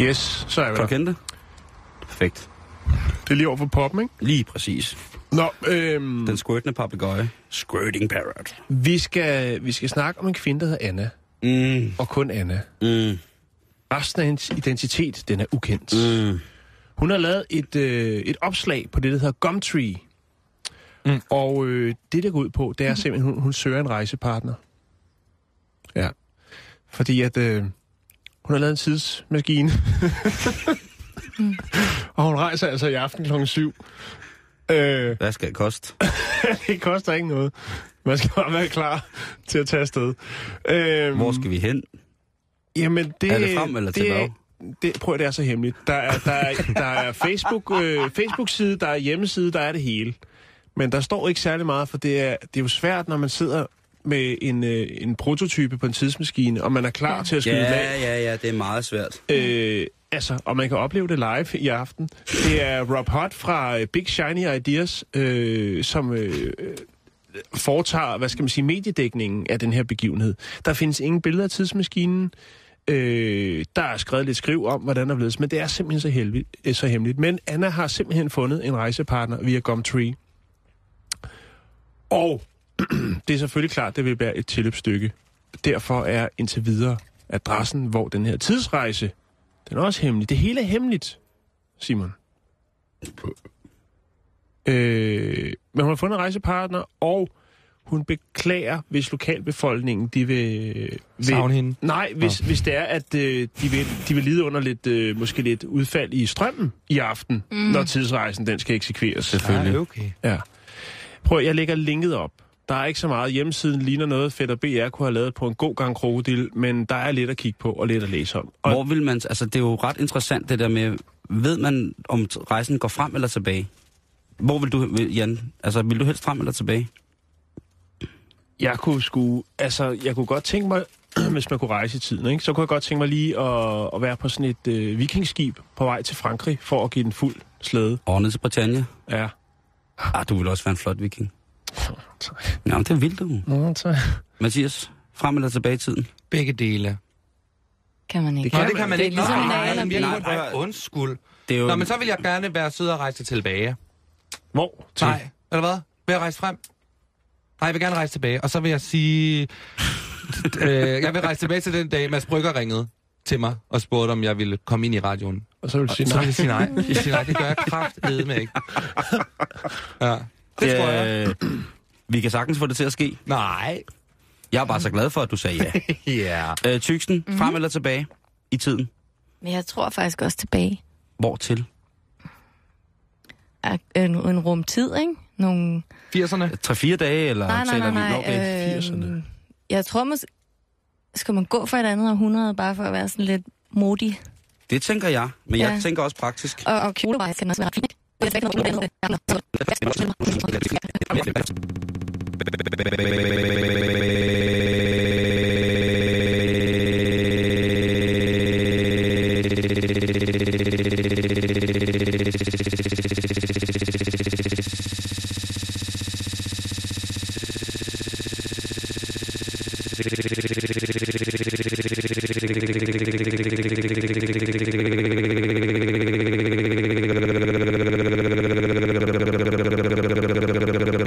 A: Yes, så er vi
B: Kan du
A: der.
B: kende det? Perfekt.
A: Det er lige over for poppen, ikke?
B: Lige præcis.
A: Nå, øhm,
B: Den squirtende papegøje. Mm. Squirting parrot.
A: vi, skal, vi skal snakke om en kvinde, der hedder Anna.
B: Mm,
A: Og kun Anna.
B: mm,
A: Resten af hendes identitet, den er ukendt.
B: mm.
A: Hun har lavet et, øh, et opslag på det, der hedder Gumtree. Mm. Og øh, det, der går ud på, det er simpelthen, hun, hun søger en rejsepartner. Ja. Fordi at øh, hun har lavet en tidsmaskine. og hun rejser altså i aften klokken 7. Øh,
B: Hvad skal det koste?
A: det koster ikke noget. Man skal bare være klar til at tage afsted. Øh,
B: Hvor skal vi hen?
A: Jamen, det,
B: Er det frem eller
A: det,
B: tilbage?
A: Det, prøv, at det er så hemmeligt. Der er, der er, der er Facebook, øh, Facebook-side, der er hjemmeside, der er det hele. Men der står ikke særlig meget, for det er, det er jo svært, når man sidder med en, øh, en prototype på en tidsmaskine, og man er klar til at skyde den
B: Ja,
A: af.
B: ja, ja, det er meget svært.
A: Øh, altså, og man kan opleve det live i aften. Det er Rob Hutt fra øh, Big Shiny Ideas, øh, som øh, øh, foretager, hvad skal man sige, mediedækningen af den her begivenhed. Der findes ingen billeder af tidsmaskinen. Øh, der er skrevet lidt skriv om, hvordan der blevet, men det er simpelthen så, helvig, øh, så hemmeligt. Men Anna har simpelthen fundet en rejsepartner via Gumtree. Og det er selvfølgelig klart, det vil være et tilløbsstykke. Derfor er indtil videre adressen, hvor den her tidsrejse, den er også hemmelig. Det hele er hemmeligt, Simon. Øh, men hun har fundet en rejsepartner, og hun beklager, hvis lokalbefolkningen, de vil... vil
D: Savn hende.
A: Nej, hvis, hvis det er, at øh, de, vil, de vil lide under lidt, øh, måske lidt udfald i strømmen i aften, mm. når tidsrejsen den skal eksekveres.
D: Selvfølgelig. okay.
A: Ja. Prøv, jeg lægger linket op. Der er ikke så meget. Hjemmesiden ligner noget, Fætter BR kunne have lavet på en god gang krokodil, men der er lidt at kigge på og lidt at læse om. Og
B: Hvor vil man... Altså, det er jo ret interessant, det der med... Ved man, om t- rejsen går frem eller tilbage? Hvor vil du, vil- Jan? Altså, vil du helst frem eller tilbage?
A: jeg kunne sgu, altså, jeg kunne godt tænke mig hvis man kunne rejse i tiden, ikke? så kunne jeg godt tænke mig lige at, at være på sådan et øh, vikingskib på vej til Frankrig for at give den fuld slæde.
B: Og ned til Britannia.
A: Ja.
B: Ah, du vil også være en flot viking. Nå, men det vil du.
A: Nå, så...
B: Mathias, frem eller tilbage i tiden?
D: Begge dele.
E: Kan man ikke.
D: Nå, det kan man
E: Det er
D: ikke.
E: ligesom
D: Nå,
E: Nala
D: nej,
E: og
D: vi har
E: Bill.
D: gjort- Ej, undskyld.
B: Det er jo...
D: Nå, men så vil jeg gerne være sød og rejse tilbage.
A: Hvor? Til?
D: Nej, eller hvad? Vil jeg rejse frem? Nej, jeg vil gerne rejse tilbage. Og så vil jeg sige... øh, jeg vil rejse tilbage til den dag, Mads Brygger ringede til mig og spurgte, om jeg ville komme ind i radioen.
A: Og så vil du sige
D: Så
A: nej.
D: vil jeg sige nej. Jeg vil sige nej, det gør jeg kraftedeme ikke. Ja, det tror jeg.
B: Øh, vi kan sagtens få det til at ske.
D: Nej.
B: Jeg er bare så glad for, at du sagde ja.
D: Ja. Yeah.
B: øh, Tyksen, mm-hmm.
D: Mhm.
B: frem eller tilbage i tiden?
E: Men jeg tror faktisk også tilbage.
B: Hvortil?
E: Er en, øh, en rum tid, ikke? Nogle...
D: 80'erne.
B: 3-4 dage, eller
E: Nej, nej, nej,
B: taler vi? Nå,
E: nej.
B: okay.
E: øh,
A: 80'erne.
E: jeg tror, man... Skal man gå for et andet århundrede, bare for at være sådan lidt modig?
B: Det tænker jeg, men jeg
E: Ja.
B: tænker også praktisk.
E: Og, og kjolevej skal den også være ret fin, ikke? Det er ikke noget andet.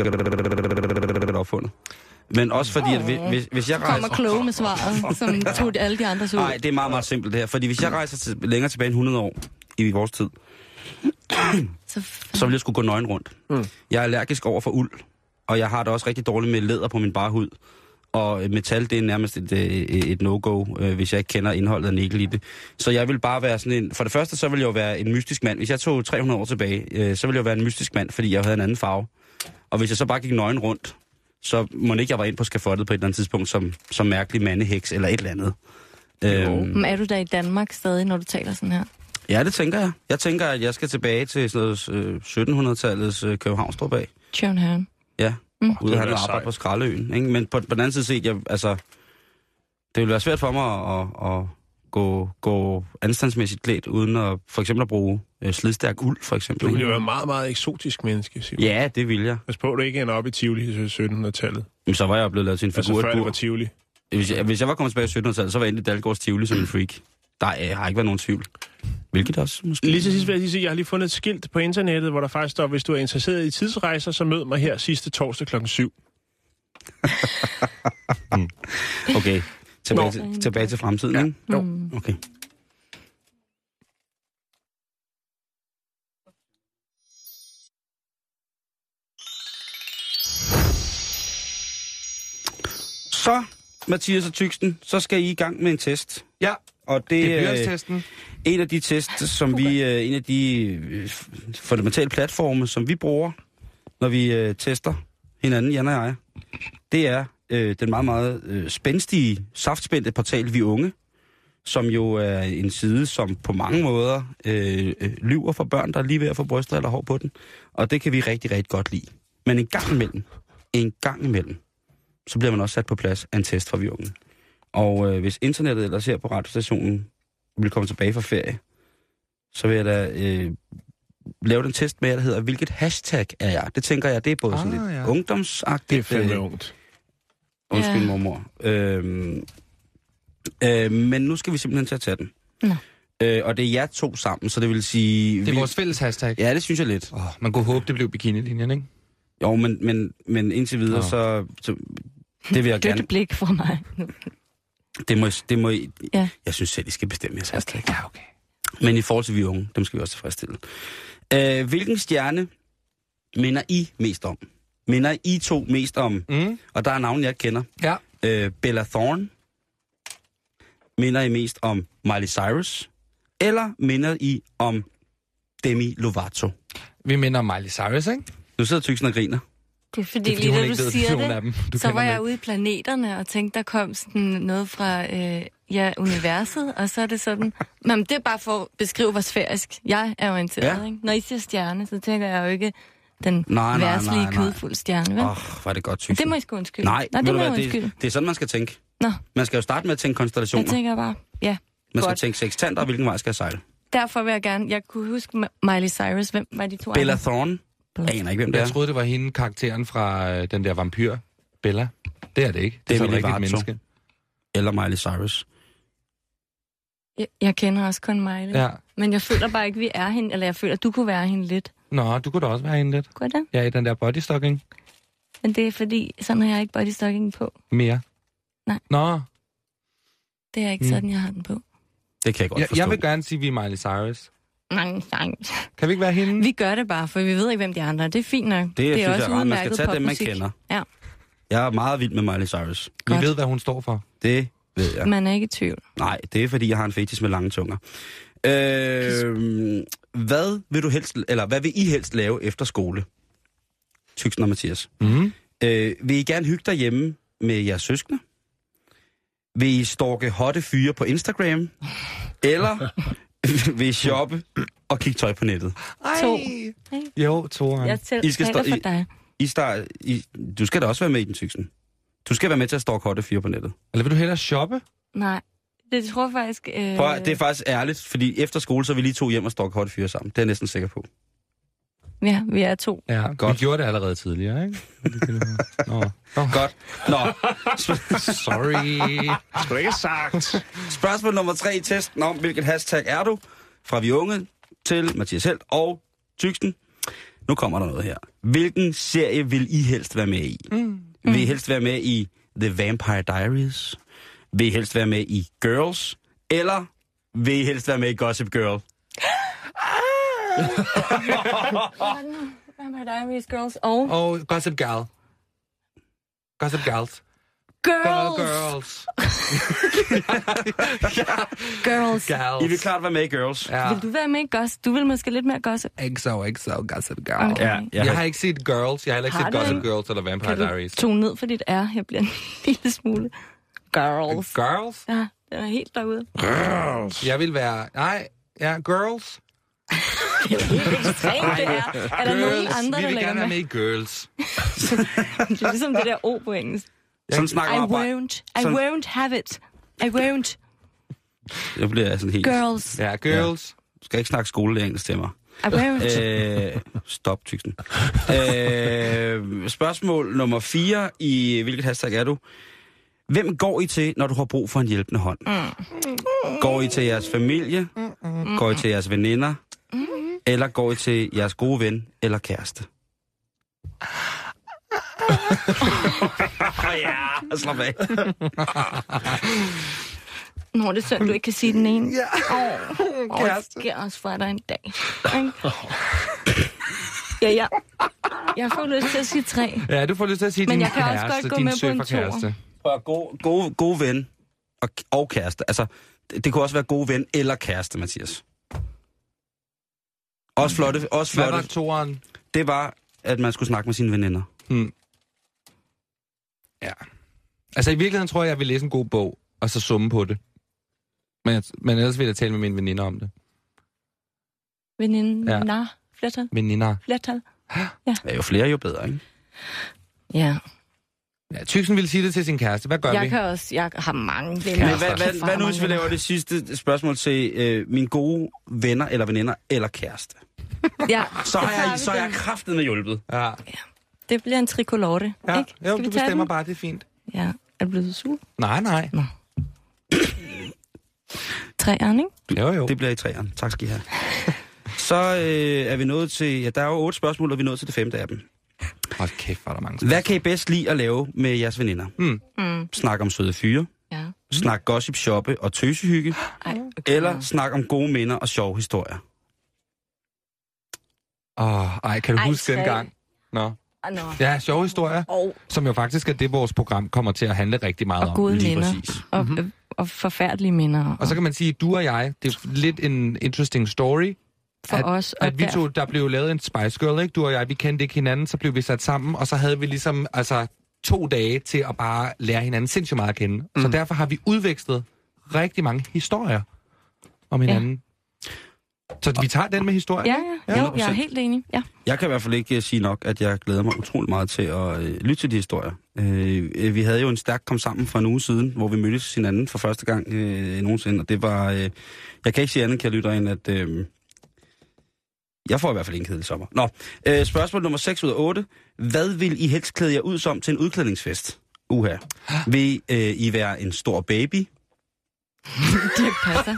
B: Det er opfundet. Men også fordi, at hvis- hvis, hvis jeg
E: Kommer
B: rejser...
E: kloge med svaret, som tog de- alle de andre så ud. Mm.
B: Nej, det er meget, meget simpelt det her. Fordi hvis jeg rejser til, længere tilbage end 100 år i vores tid,
E: Så
B: så ville jeg skulle gå nøgen rundt. Mm. Jeg er allergisk over for uld, og jeg har det også rigtig dårligt med læder på min bare hud. Og øh, metal, det er nærmest et, øh, et no-go, øh, hvis jeg ikke kender indholdet af nikkel i det. Så jeg vil bare være sådan en... For det første, så vil jeg jo være en mystisk mand. Hvis jeg tog 300 år tilbage, øh, så ville jeg jo være en mystisk mand, fordi jeg havde en anden farve. Og hvis jeg så bare gik nøgen rundt, så må ikke jeg var ind på skafottet på et eller andet tidspunkt som, som mærkelig mandeheks eller et eller andet. Øhm,
E: Men er du der i Danmark stadig, når du taler sådan her?
B: ja, det tænker jeg. Jeg tænker, at jeg skal tilbage til sådan noget øh, 1700-tallets øh, Københavnstrup af.
E: Tjørn Herren.
B: Ja,
E: Mm.
B: mm. ude
A: Det
B: at han
A: ville være
B: arbejde
A: sejt.
B: på Skraldeøen. Ikke? Men på, på den anden side set, jeg, altså, det ville være svært for mig at, at, at gå, gå anstandsmæssigt klædt, uden at for eksempel at bruge øh, slidstærk uld, for eksempel.
A: Du ville jo
B: ikke?
A: være meget, meget eksotisk menneske, Simon.
B: Ja, det vil jeg.
A: Pas på, du ikke ender op i Tivoli i 1700-tallet.
B: Men så var jeg jo blevet lavet til en
A: Altså
B: figur.
A: før
B: Altså,
A: det var Tivoli.
B: hvis, jeg, hvis jeg var kommet tilbage i 1700-tallet, så var jeg endelig Dalgårds Tivoli som en freak. Der øh, har ikke været nogen tvivl. Hvilket også måske...
A: Lige til sidst vil jeg lige sige, at jeg har lige fundet et skilt på internettet, hvor der faktisk står, hvis du er interesseret i tidsrejser, så mød mig her sidste torsdag kl. 7.
B: Okay, tilbage,
A: Nå.
B: til, tilbage til fremtiden, ja. ikke?
A: Jo.
B: Okay. Så, Mathias og Tyksten, så skal I i gang med en test.
D: Ja,
B: Og
D: det
B: det,
D: er
B: er øh,
D: blyanstesten.
B: en af de test, som vi, øh, en af de øh, f- fundamentale platforme, som vi bruger, når vi øh, tester hinanden, Jan og jeg, det er øh, den meget, meget øh, spændstige, saftspændte portal Vi Unge, som jo er en side, som på mange måder øh, øh, lyver for børn, der er lige ved at få bryster eller hår på den. Og det kan vi rigtig, rigtig godt lide. Men en gang imellem, en gang imellem, så bliver man også sat på plads af en test fra Vi Unge. Og øh, hvis internettet ellers her på radiostationen vil komme tilbage fra ferie, så vil jeg da øh, lave den test med, jer, der hedder, hvilket hashtag er jeg? Det tænker jeg, det er både ah, sådan
D: Ah,
B: lidt ja.
D: ja.
B: ungdomsagtigt.
A: Det er fandme
B: øh,
A: ungt.
B: Undskyld,
E: Ja.
B: ja. mormor. Øhm, øh, men nu skal vi simpelthen til at tage den.
E: Nå.
B: Øh, og det er jer to sammen, så det vil sige...
D: Det er vores fælles hashtag.
B: Ja, det synes jeg lidt.
D: Oh, man kunne håbe, det blev bikinilinjen, ikke?
B: Jo, men, men, men indtil videre,
D: Nå.
B: så, så... Det vil jeg
E: Dødt
B: gerne...
E: blik fra mig.
B: Det må, I- det må I,
E: Ja.
B: Jeg synes selv, I skal bestemme jeres hashtag.
D: Ja, okay.
B: Men i forhold til vi unge, dem skal vi også tilfredsstille. Øh, hvilken stjerne minder I mest om? Minder I to mest om?
D: Mm.
B: Og der er navne, jeg ikke kender.
D: Ja.
B: øh, Bella Thorne? Minder I mest om Miley Cyrus? Eller minder I om Demi Lovato?
D: Vi minder om Miley Cyrus, ikke?
B: Nu sidder Tyksen og griner.
E: Det er fordi,
D: Det er, fordi hun
E: lige da
D: ikke
E: du
D: ved
E: siger
D: nogen af
E: det,
D: dem. Du
E: så
D: kender
E: var
D: dem
E: jeg
D: ikke.
E: ude i planeterne og tænkte, der kom sådan noget fra øh, ja, universet, og så er det sådan... Nå, Men det er bare for at beskrive, hvor sfærisk jeg er orienteret.
B: Ja.
E: Ja. Ikke? Når I siger stjerne, så tænker jeg jo ikke den
B: Nej, nej, nej,
E: værtslige
B: nej.
E: kødfuld stjerne, vel?
B: Åh, oh, hvor er det godt, Tyksen.
E: det må I sgu undskylde.
B: Nej,
E: Nå,
B: ved
E: det må
B: du
E: jeg
B: hvad, det,
E: undskylde.
B: det er sådan, man skal tænke.
E: Nå,
B: Man skal jo starte med at tænke
E: jeg
B: konstellationer.
E: tænker bare, ja.
B: Man skal
E: godt.
B: tænke sekstanter, og hvilken vej skal jeg sejle?
E: Derfor vil jeg gerne... Jeg kunne huske Ma- Miley Cyrus. Hvem var de to
B: Bella
E: andre?
B: Thorne. Jeg aner ikke, hvem det
D: Jeg
B: er.
D: troede, det var hende, karakteren fra øh, den der vampyr, Bella. Det er det ikke.
B: Det
D: Det, det
B: er
D: er
B: Willy
D: et rigtigt
B: Vartov.
D: menneske.
B: Eller Miley Cyrus.
E: Jeg, jeg kender også kun Miley.
D: Ja.
E: Men jeg føler bare ikke, vi er hende. Eller jeg føler, du kunne være hende lidt.
D: Nå, du kunne da også være hende lidt.
E: Kunne jeg det?
D: Ja, i den der bodystocking
E: Men det er fordi, sådan har jeg ikke bodystocking på.
D: mere.
E: Nej.
D: Nå,
E: Det er ikke
D: Mm.
E: mm. sådan, jeg har den på.
B: Det kan jeg godt
D: jeg,
B: forstå.
D: jeg vil gerne sige, at vi er Miley Cyrus.
E: Nej, nej.
D: Kan vi ikke være hende?
E: Vi gør det bare, for vi ved ikke, hvem de andre er. Det er fint nok.
B: Det, synes jeg er rart. Man skal
E: udmærket
B: tage dem, man
E: popmusik.
B: kender.
E: Ja,
B: Jeg er meget vild med Miley Cyrus.
D: Vi
E: godt.
D: ved, hvad hun står for.
B: Det ved jeg.
E: man er ikke i tvivl.
B: Nej, det er fordi, jeg har en fetish med lange tunger. Øh, hvad vil du helst, eller hvad vil I helst lave efter skole? Tyksen og Mathias.
D: Mm.
B: Øh, vil I gerne hygge derhjemme med jeres søskende? Vil I stalke hotte fyre på Instagram? Eller vil I shoppe og kigge tøj på nettet?
D: Ej.
E: To.
D: Jo, Toren.
E: Jeg tæller
B: I skal stå-
E: for
B: I-
E: dig.
B: I start, I, du skal da også være med i den tyksen. Du skal være med til at stalke hotte fyre på nettet.
D: Eller vil du hellere shoppe?
E: Nej, det tror jeg faktisk... Øh,
B: Prøv, at- det er faktisk ærligt, fordi efter skole, så er vi lige to hjem og stalke hotte fyre sammen. Det er jeg næsten sikker på.
E: Ja, vi er to.
D: Ja, godt. Vi gjorde det allerede tidligere, ikke? Nå. Nå.
B: Godt. Nå,
D: Sorry.
A: Skulle du ikke have sagt.
B: Spørgsmål nummer tre i testen om, hvilket hashtag er du? Fra vi unge til Mathias Helt og Tyksten. Nu kommer der noget her. Hvilken serie vil I helst være med i? Mm. Vil I helst være med i The Vampire Diaries? Vil I helst være med i Girls? Eller vil I helst være med i Gossip Girl?
E: Vampire Diaries Girls og...
D: Og Gossip Gal. Gossip Gals.
E: Girls!
D: Girls.
E: Girls!
D: Gals.
B: I vil klart være med i Girls.
D: Ja.
E: Vil du være med i gossip? Du vil måske lidt mere gossip.
D: XO, XO, Gossip Gal.
E: Okay. Ja,
D: Jeg har ikke set Girls, jeg har heller ikke
E: Har
D: set
E: du
D: Gossip
E: ikke?
D: Girls eller Vampire
E: Kan du
D: Diaries.
E: tone ned for dit R? Jeg bliver en lille smule... Girls.
D: Girls?
E: Ja, den er helt derude.
D: Jeg vil være... Nej, ja, Girls.
E: Det er jo helt ekstremt, det her. Er der nogen
D: girls.
E: andre,
D: vi
E: der
D: vil
E: lægger
D: gerne være
E: med?
D: med i Girls.
E: Det er ligesom det der O på engelsk.
B: Sådan
E: I
B: snakker man bare.
E: won't. I
B: Sådan-
E: won't have it. I won't.
B: Jeg bliver sådan helt...
E: Girls.
D: Ja, Girls.
B: Du skal ikke snakke skoleengelsk til mig.
E: I won't.
B: Øh, stop, tyksen. Øh, spørgsmål nummer 4 i hvilket hashtag er du? Hvem går I til, når du har brug for en hjælpende hånd? Går I til jeres familie? Går I til jeres veninder? Eller går I til jeres gode ven eller kæreste? ja, slap af.
D: Øh.
E: Nå, det er synd, du ikke kan sige den ene. Ja. Åh, oh, det sker også for dig en dag. ikke? Ja, ja. Jeg får lyst til at sige tre.
D: Ja, du får lyst til at sige
E: Men
D: din
E: jeg kan også godt
D: kæreste,
E: gå
D: din
E: med på en
D: søferkæreste.
B: Og god, god, god ven og, og kæreste. Altså, det, det kunne også være god ven eller kæreste, Mathias. Også flotte, også
D: Hvad var
B: flotte.
D: toren?
B: Det Mm. var, at man skulle snakke med sine veninder.
D: Hmm. Ja. Altså i virkeligheden tror jeg, jeg vil læse en god bog, og så summe på det. Men, jeg, men ellers vil jeg tale med mine veninder om det.
E: Veninde.
D: Ja.
E: Ja. Flertal.
D: Veninder.
E: Flertal.
B: Ja, jo flere, jo bedre, ikke?
E: Ja.
D: Ja, Tyksen ville sige det til sin kæreste. Hvad gør vi?
E: Jeg kan også... Jeg har mange venner.
B: Men hvad, hvad, hvad nu, hvis vi laver det sidste spørgsmål til øh, mine gode venner eller veninder eller kæreste?
E: Ja,
B: Så har jeg, så er jeg
E: den.
B: kraftet med hjulpet.
D: Ja,
E: det bliver en tricolore.
D: ja.
E: ikke?
D: Jo,
E: Skal vi tage
D: du bestemmer
E: den?
D: bare, det er fint.
E: Ja. Er du blevet sur?
D: Nej, nej.
E: Tre, ikke?
D: Jo, jo.
B: Det bliver i træerne. Tak skal I have. Så øh, er vi nået til... Ja, der er jo otte spørgsmål, og vi er nået til det femte af dem.
D: Hold kæft, hvor er der mange
B: Hvad kan I bedst lide at lave med jeres veninder?
D: Mm.
E: Mm.
B: Snak om søde fyre,
E: Ja.
B: snak gossip, shoppe og tøsehygge,
E: Ej, okay.
B: eller snak om gode minder og sjove historier.
D: Åh, ej, kan du
E: Ej,
D: huske den
E: tre.
D: gang? Nå.
E: Ah, nå.
D: Ja, sjove historier,
E: Og,
D: som jo faktisk er det, vores program kommer til at handle rigtig meget
E: og
D: om.
E: gode
B: lige
E: minder.
B: præcis.
E: Og, mm-hmm. og forfærdelige minder.
D: Mhm. Og så kan man sige, at du og jeg, det er lidt en interesting story,
E: for os. Og
D: at vi to, der blev lavet en Spice Girl, ikke? Du og jeg, vi kendte ikke hinanden, så blev vi sat sammen, og så havde vi ligesom, altså, to dage til at bare lære hinanden sindssygt meget at kende. Mm. Så derfor har vi udvekslet rigtig mange historier om hinanden. Så vi tager den med historien?
E: Ja, ja. Jo, jeg er helt enig. Ja.
B: Jeg kan i hvert fald ikke øh, sige nok, at jeg glæder mig utrolig meget til at øh, lytte til de historier. Øh, øh, vi havde jo en stærk kom sammen for en uge siden, hvor vi mødtes hinanden for første gang øh, nogensinde, og det var... Øh, jeg kan ikke sige andet, kan jeg lytte end, at... Øh, jeg får i hvert fald en kedelig sommer. Nå, øh, spørgsmål nummer 6 ud af 8. Hvad vil I helst klæde jer ud som til en udklædningsfest? Uha. Vil øh, I være en stor baby?
E: Det passer.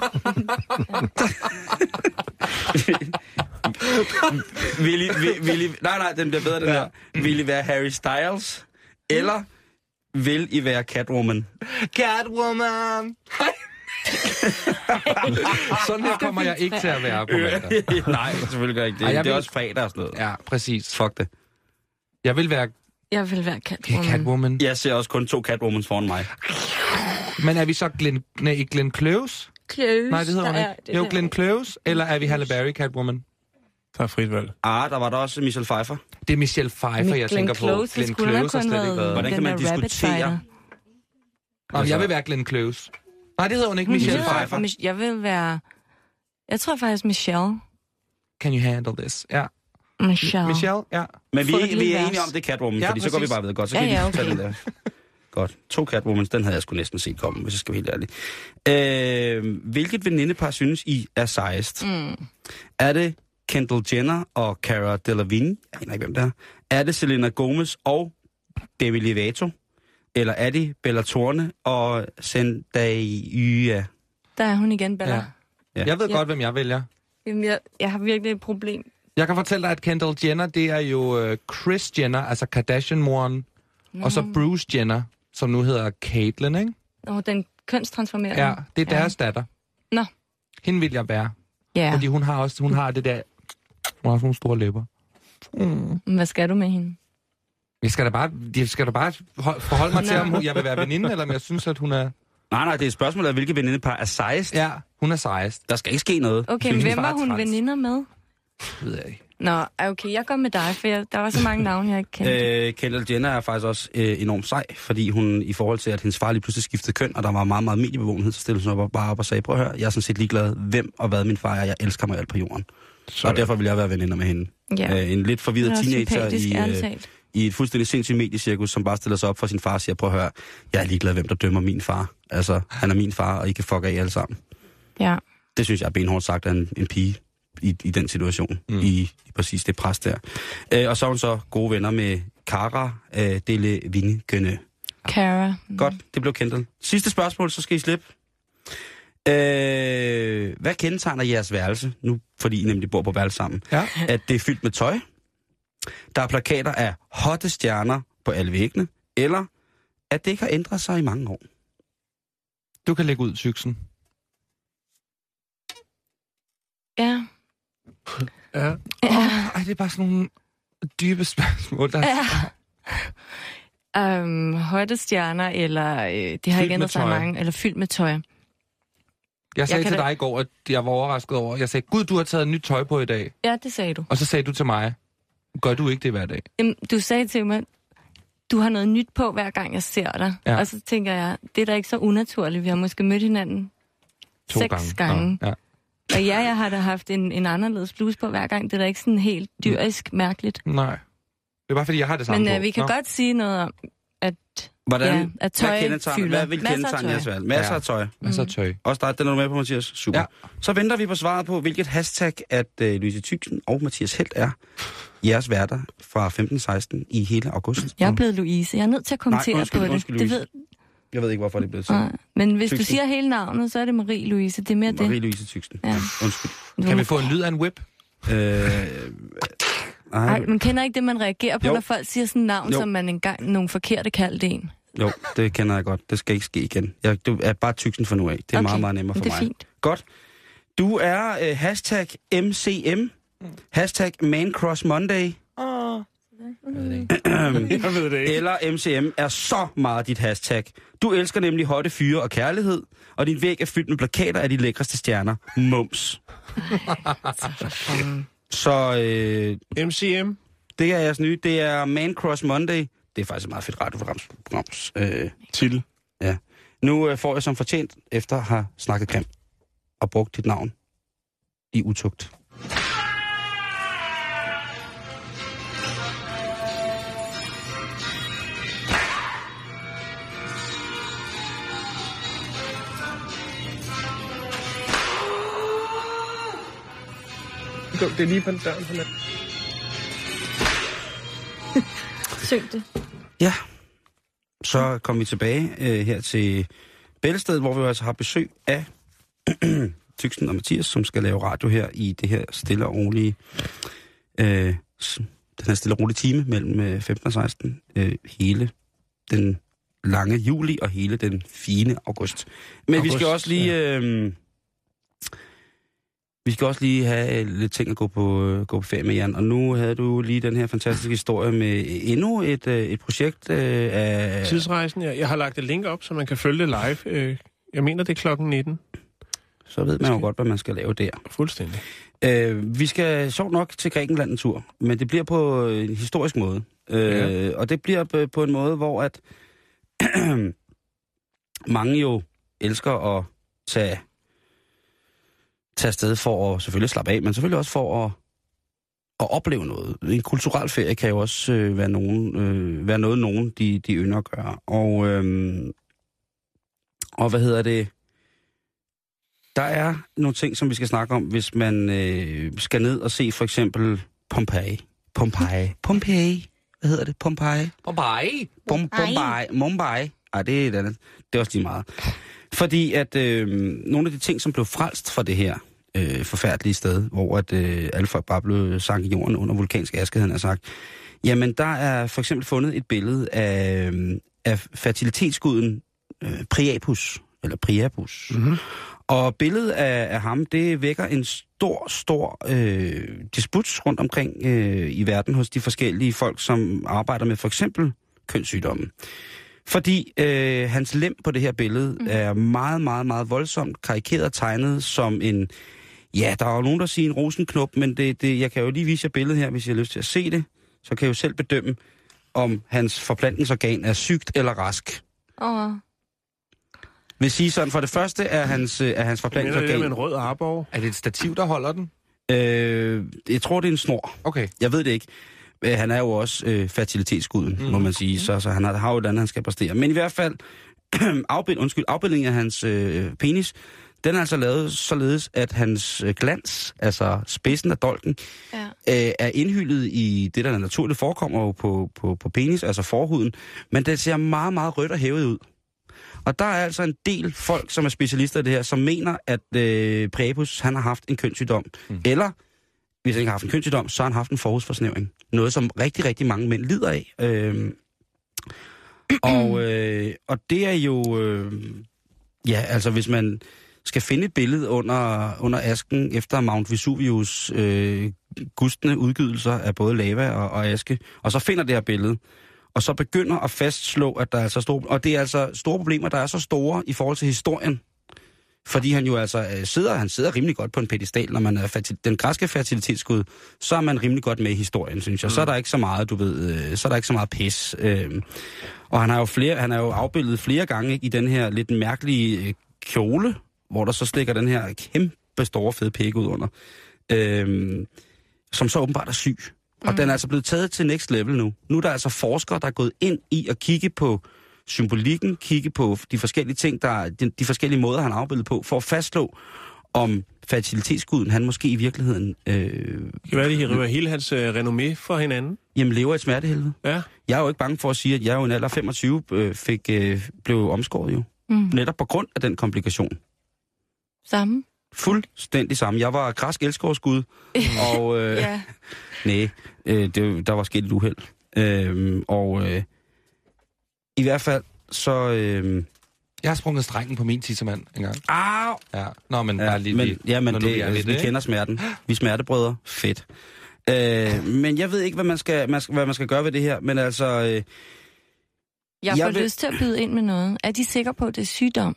B: vil, I, vil, vil I, nej, nej, den bliver bedre, den her. Vil I være Harry Styles? Eller vil I være Catwoman?
D: Catwoman! Sådan her kommer jeg ikke til at være på mandag.
B: nej, selvfølgelig gør jeg ikke det.
D: Ej,
B: Ej,
D: jeg
B: det er
D: vil-
B: også fredag og sådan noget.
D: Ja, præcis.
B: Fuck det.
D: Jeg vil være
E: Jeg vil være
D: Mm.
E: Catwoman.
D: Catwoman.
B: Jeg ser også kun to Catwomans foran mig.
D: Men er vi så Glenn, nej, ikke Glenn Close?
H: Kløves.
D: Nej, det hedder hun ikke. Jo, Glenn Close, eller er vi Halle Berry Catwoman?
A: Der er frit valg.
B: Ah, der var der også Michelle Pfeiffer.
D: Det er Michelle Pfeiffer, jeg tænker på.
E: Close, Glenn Close har
D: har
E: kun
D: slet ikke
E: været
D: været.
B: Hvordan kan
E: den
B: man
E: der rabbit
B: diskutere?
E: fighter.
D: Nå, men jeg vil være Glenn Close. Nej, det hedder hun ikke. Michelle
E: Jeg vil-
D: Pfeiffer.
E: Mich- Jeg vil være... Jeg tror faktisk Michelle.
D: Can you handle this? Ja.
E: Michelle.
D: Michelle, ja.
B: Men vi,
E: Få et
B: vi
E: lille
B: er
E: vers.
B: enige om, det er Catwoman,
D: Ja,
B: ja, fordi så går vi
D: præcis.
B: bare videre. Godt, så
E: Ja,
B: kan
E: ja,
B: vi tage den der. Godt. To Catwomans, den havde jeg sgu næsten set komme, hvis jeg skal være helt ærlig. Øh, hvilket venindepar synes I er sejest?
E: Mm.
B: Er det Kendall Jenner og Cara Delevingne? Jeg aner ikke, hvem det er. Er det Selena Gomez og Demi Lovato? Eller er det Bella Thorne og Zendaya?
E: Der er hun igen, Bella.
D: Ja.
E: Ja.
B: Ja.
D: Jeg ved
E: Ja.
D: godt, hvem jeg vælger.
E: Jamen, jeg, jeg har virkelig et problem.
D: Jeg kan fortælle dig, at Kendall Jenner, det er jo øh, Chris Jenner, altså Kardashian-moren, og
E: Mm.
D: så Bruce Jenner, som nu hedder Caitlyn, ikke?
E: Åh, den kønstransformerede.
D: Ja, det er deres datter.
E: Nå.
D: Hende vil jeg være,
E: Ja,
D: fordi hun har også hun har det der... Hun har sådan nogle store læber.
E: men hvad skal du med hende?
D: Jeg skal da bare, jeg skal da bare hol- forholde mig til, om hun- jeg vil være veninde, eller om jeg synes, at hun er...
B: Nej, nej, det er et spørgsmål af, hvilket venindepar er sejest.
D: Ja, hun er sejest.
B: Der skal ikke ske noget.
E: Okay,
D: Synes
E: hvem
D: bare,
E: var hun
D: træls.
E: veninder med?
D: Det ved jeg ikke.
E: Nå, ej, okay, jeg går med dig, for jeg, der var så mange navne, jeg ikke kendte.
B: Øh, Kendall Jenner er faktisk også øh, enormt sej, fordi hun i forhold til, at hendes far lige pludselig skiftede køn, og der var meget, meget mediebevågenhed, så stillede hun op, bare op og sagde, prøv at høre, jeg er sådan set ligeglad, hvem og hvad min far er, jeg elsker mig alt på jorden. Så, og derfor vil jeg være veninder med hende.
E: ja,
B: Ja. Øh, en lidt
E: det
B: forvirret
E: er også
B: teenager
E: sympatisk,
B: i,
E: ærligt
B: øh,
E: talt.
B: i et fuldstændig sindssygt mediecirkus, som bare stiller sig op for sin far og siger, prøv at høre, jeg er ligeglad, hvem der dømmer min far. Altså, han er min far, og I kan fuck af jer alle sammen.
E: Ja.
B: Det synes jeg er benhårdt sagt af en, en pige i, i den situation, mm. i, i præcis det pres der. Øh, og så er hun så gode venner med Cara øh, Dele Vingønne.
E: Mm. Cara.
B: Godt, det blev Kendall. Sidste spørgsmål, så skal I slippe. Øh, hvad kendetegner jeres værelse, nu fordi I nemlig bor på værelse sammen?
D: Ja.
B: At det er fyldt med tøj, der er plakater af hotte stjerner på alle væggene, eller at det ikke har ændret sig i mange år.
D: Du kan lægge ud, Syksen.
E: Ja.
A: Ja.
D: Ja. Oh, ej, det er bare sådan nogle dybe spørgsmål. Der... Ja.
E: Øhm, højde stjerner, eller øh, det har
D: Fyldt
E: ikke
D: med
E: ændret sig
D: tøj.
E: mange, eller fyldt med tøj.
D: Jeg sagde
E: Jeg kan
D: til
E: da-
D: dig i går, at jeg var overrasket over. Jeg sagde, gud, du har taget nyt tøj på i dag.
E: Ja, det sagde du.
D: Og så sagde du til mig, gør du ikke det hver dag?
E: Jamen, du sagde til mig, du har noget nyt på, hver gang jeg ser dig.
D: Ja.
E: Ja. Og så tænker jeg, det er da ikke så unaturligt. Vi har måske mødt hinanden
D: To
E: seks
D: gange.
E: gange.
D: Nå, Ja.
E: Og ja, jeg har da haft en, en anderledes bluse på hver gang. Det er da ikke sådan helt dyrisk mærkeligt.
D: Nej. Det er bare, fordi jeg har det samme
E: Men
D: på.
E: øh, vi kan
D: Nå.
E: godt sige noget om, at
B: Hvordan,
E: Ja, at tøj
B: hvad, kendetegner,
E: fylder.
B: hvad vil
E: Masser af
B: kendetegne
E: tøj.
B: jeres værelse? Masser
D: Ja.
B: af tøj.
D: Masser af tøj.
E: Mm.
B: Også dig, den er du med på, Mathias. Super.
D: Ja.
B: Ja. Så venter vi på svaret på, hvilket hashtag, at øh, Louise Tygsen og Mathias Helt er jeres værter fra 15-16 i hele august.
E: jeg er blevet Louise. Jeg er nødt til at kommentere
B: undskyld,
E: på det.
B: undskyld,
E: det
B: Louise.
E: ved,
B: Jeg ved ikke, hvorfor det er blevet til.
E: nej. Men hvis du
B: Tusind.
E: siger hele navnet, så er det Marie-Louise. Det er mere det.
B: Marie-Louise Tygsen.
E: Ja.
B: Undskyld.
D: Kan vi få en lyd af en whip?
B: Øh, nej,
E: Ej, man kender ikke det, man reagerer på,
B: Jo.
E: jo. når folk siger sådan navn,
B: Jo.
E: jo. som man engang nogle forkerte kaldte en.
B: jo, det kender jeg godt. Det skal ikke ske igen. Jeg, du er bare Tygsen for nu af. Det er okay. meget, meget nemmere for
E: det er
B: mig.
E: Fint.
B: Godt. Du er øh, hashtag MCM, hashtag ManCrossMonday,
A: Jeg ved det ikke.
B: eller MCM er så meget dit hashtag. Du elsker nemlig hotte fyre og kærlighed, og din væg er fyldt med plakater af de lækreste stjerner. Mums. så øh,
A: MCM.
B: det er jeres nye. Det er Man Cross Monday. Det er faktisk et meget fedt radioprogram. Øh,
A: Titel.
B: nu øh, får jeg som fortjent, efter at have snakket grimt og brugt dit navn i utugt.
A: Det er lige på døren. På
E: Syng det.
B: Ja. Så kom vi tilbage øh, her til Bælsted, hvor vi jo altså har besøg af Tyksen og Mathias, som skal lave radio her i det her stille og rolige... Øh, s- den her stille og rolige time mellem øh, 15 og 16. Øh, hele den lange juli og hele den fine august. Men august, vi skal
A: August,
B: også lige... Øh, vi skal også lige have øh, lidt ting at gå på, øh, gå på ferie med, Jan. Og nu havde du lige den her fantastiske historie med endnu et, øh, et projekt øh, af...
A: Tidsrejsen, jeg, jeg har lagt et link op, så man kan følge det live. Øh, Jeg mener, det er klokken 19.
B: Så ved man jo godt, hvad man skal lave der.
A: Fuldstændig.
B: Øh, vi skal sjovt nok til Grækenland en tur, men det bliver på øh, en historisk måde. Øh, ja. Og det bliver på- på en måde, hvor at mange jo elsker at tage, tage afsted for at selvfølgelig slappe af, men selvfølgelig også for at, at opleve noget. En kulturel ferie kan jo også øh, være, nogen, øh, være noget, nogen de, de ynder at gøre. Og, øh, og hvad hedder det? Der er nogle ting, som vi skal snakke om, hvis man øh, skal ned og se for eksempel Pompeji. Pompeji. Pompeji. Hvad hedder det? Pompeji?
D: Bombay.
B: Bom, Bombay. Mumbai. Ej, det er et andet. Det er også lige meget. Fordi at øh, nogle af de ting, som blev frelst fra det her øh, forfærdelige sted, hvor at øh, alle folk bare blev sank i jorden under vulkansk aske, havde han sagt, jamen der er for eksempel fundet et billede af, øh, af fertilitetsguden øh, Priapus, eller Priapus. Mm-hmm. Og billedet af, af ham, det vækker en stor, stor øh, disput rundt omkring øh, i verden hos de forskellige folk, som arbejder med for eksempel kønssygdommen. Fordi øh, hans lem på det her billede mm. er meget, meget, meget voldsomt karikeret og tegnet som en... Ja, der er jo nogen, der siger en rosenknop, men det, det, jeg kan jo lige vise jer billedet her, hvis I har lyst til at se det. Så kan jeg jo selv bedømme, om hans forplantningsorgan er sygt eller rask.
E: Åh,
B: Vil sige sådan, for det første er hans, øh, er hans
A: Jeg mener, det er med
B: forplantningsorgan...
A: en rød arborg.
D: Er det et stativ, der holder den?
B: Øh, jeg tror, det er en snor.
D: Okay.
B: Jeg ved det ikke. Øh, Han er jo også øh, fertilitetsguden, mm. må man sige, så, så han har, har jo et andet, han skal præstere. Men i hvert fald, afbild, undskyld, afbildningen af hans øh, penis, den er altså lavet således, at hans øh, glans, altså spidsen af dolken,
E: ja.
B: øh, er indhyldet i det, der naturligt forekommer jo på, på, på penis, altså forhuden, men den ser meget, meget rødt og hævet ud. Og der er altså en del folk, som er specialister i det her, som mener, at øh, Priapus, han har haft en kønssygdom. Mm. Eller, hvis han ikke har haft en kønssygdom, så har han haft en forhudsforsnævring. Noget, som rigtig, rigtig mange mænd lider af. Øh, og, øh, og det er jo... Øh, ja, altså hvis man skal finde et billede under, under asken efter Mount Vesuvius øh, gustende udgydelser af både lava og, og aske, og så finder det her billede, og så begynder at fastslå, at der er altså store, og det er altså store problemer, der er så store i forhold til historien, fordi han jo altså øh, sidder, han sidder rimelig godt på en pedestal, når man er fertil, den græske fertilitetsgud, så er man rimelig godt med i historien, synes jeg. Så er der ikke så meget, du ved, øh, så er der ikke så meget pis. Øh, og han har jo flere, han er jo afbildet flere gange ikke, i den her lidt mærkelige øh, kjole, hvor der så stikker den her kæmpe store fede pik ud under, øh, som så åbenbart er syg. Og mm. den er altså blevet taget til next level nu. Nu er der altså forskere, der er gået ind i at kigge på symbolikken, kigge på de forskellige ting, der, de, de forskellige måder, han er afbildet på, for at fastslå, om fertilitetsguden, han måske i virkeligheden, øh,
A: Det kan være, de river hele hans øh, renommé fra hinanden.
B: jamen lever i et smertehelvede.
A: Ja.
B: Jeg er jo ikke bange for at sige, at jeg jo i en alder af 25 øh, fik, øh, blev omskåret jo. Mm. Netop på grund af den komplikation.
E: Samme.
B: Fuldstændig samme. Jeg var græsk elskovsgud, og øh,
E: Ja.
B: nej, øh, det, der var sket et uheld. Øh, og øh, i hvert fald, så... Øh,
D: Jeg har sprunget strengen på min tissemand engang.
B: ah,
D: Ja. Nå, men
B: Ja,
D: bare lige...
B: men, ja, men
D: når
B: det,
D: nu vi er
B: vi,
D: lidt,
B: vi
D: ikke?
B: kender smerten. Vi er smertebrødre. Fedt. Øh, men jeg ved ikke, hvad man, skal, man skal, hvad man skal gøre ved det her, men altså... Øh,
E: Jeg
B: Jeg
E: får
B: vil-
E: lyst til at byde ind med noget. Er de sikre på, at det er sygdom?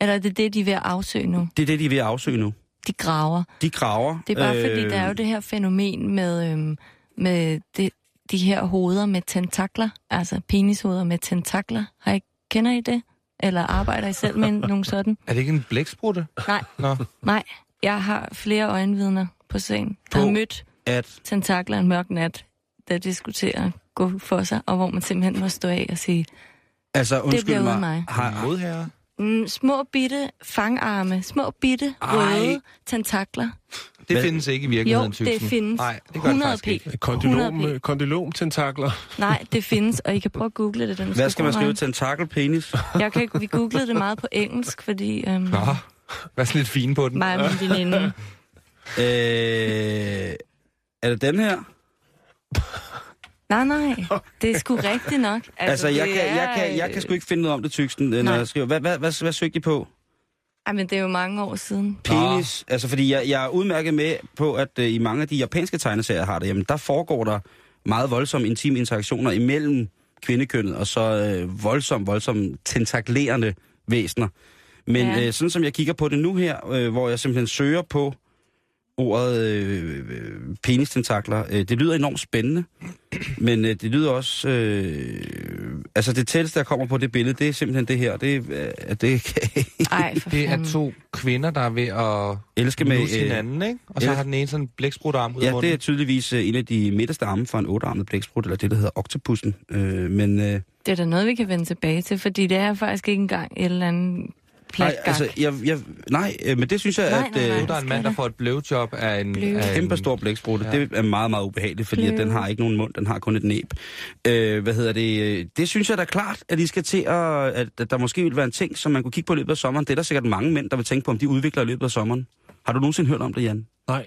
E: Eller er det det, de er ved at afsøge nu?
B: det er det, de er ved at afsøge nu.
E: De graver.
B: De graver. øhm,
E: Det er bare øh... fordi, der er jo det her fænomen med, øhm, med det, de her hoveder med tentakler. Altså penishoveder med tentakler. Har I, kender I det? Eller arbejder I selv med nogen sådan?
D: Er det ikke en blæksprutte?
E: Nej,
D: Nå.
E: nej. Jeg har flere øjenvidner på scenen, der
B: På-
E: har mødt
B: At,
E: tentakler en mørk nat, der diskuterer at gå for sig, og hvor man simpelthen må stå af og sige,
B: altså, undskyld
E: bliver
B: mig.
E: uden mig.
B: Har,
D: Modherre.
E: mm, små bitte fangarme, små bitte
D: Ej.
E: røde tentakler.
D: Det
B: Hvad?
D: findes ikke i
E: Jo,
D: virkeligheden,
E: det
D: Tygsen.
E: findes.
D: Nej, det gør
E: 100
D: det
E: p.
D: faktisk ikke.
A: Kondylom,
E: 100
A: øh, kondylom-tentakler.
E: Nej, det findes, og I kan prøve at google det. Da du
B: hvad skal man skrive?
E: bruge
B: Tentakelpenis?
E: mig. Jeg kan ikke, vi googlede det meget på engelsk, fordi øhm,
D: Nå, vær sådan lidt fin på den.
E: mig og min veninde,
B: øh, er det den her?
E: nej, nej, det er sgu rigtigt nok.
B: Altså, jeg
E: det
B: kan,
E: er, øh,
B: jeg, kan, jeg kan sgu ikke finde noget om det, Tygsten, øh, når
E: Nej.
B: jeg skriver. Hvad, hvad, hvad, hvad søgte I på?
E: Ej, men det er jo mange år siden.
B: Penis? Altså, fordi jeg, jeg er udmærket med på, at øh, i mange af de japanske tegneserier, jeg har det, jamen, der foregår der meget voldsomme intime interaktioner imellem kvindekønnet, og så øh, voldsomt, voldsomt tentaklerende væsener. Men ja.
E: Ja.
B: øh, sådan som jeg kigger på det nu her, øh, hvor jeg simpelthen søger på ordet øh, øh, penistentakler, øh, det lyder enormt spændende, men øh, det lyder også... Øh, altså det tætteste, jeg kommer på det billede, det er simpelthen det her. Det, øh, det kan jeg
E: Ej, for
D: Det
E: fanden.
D: er to kvinder, der er ved at
B: elske med...
D: med øh, hinanden, ikke? Og så
B: ja.
D: har den ene sådan en blæksprutarm ud af
B: Ja,
D: munden.
B: det er tydeligvis øh, en af de midterste arme fra en ottearmet blæksprut, eller det, der hedder oktopussen. Øh, men øh,
E: Det er da noget, vi kan vende tilbage til, fordi det er faktisk ikke engang et eller andet
B: nej,
E: platgak.
B: altså, jeg, jeg, nej, øh, men det synes jeg,
E: Nej,
B: at
E: nej,
B: øh,
E: nej.
D: Nu er der en mand, der får et blowjob af en...
E: Bløv.
D: Af en
B: kæmpe stor blæksprutte,
D: Ja.
B: ja. det er meget, meget ubehageligt, fordi at den har ikke nogen mund, den har kun et næb. Øh, hvad hedder det? øh, Det synes jeg da klart, at I skal til at, at, at der måske vil være en ting, som man kunne kigge på i løbet af sommeren. Det er der sikkert mange mænd, der vil tænke på, om de udvikler i løbet af sommeren. Har du nogensinde hørt om det, Jan?
A: Nej.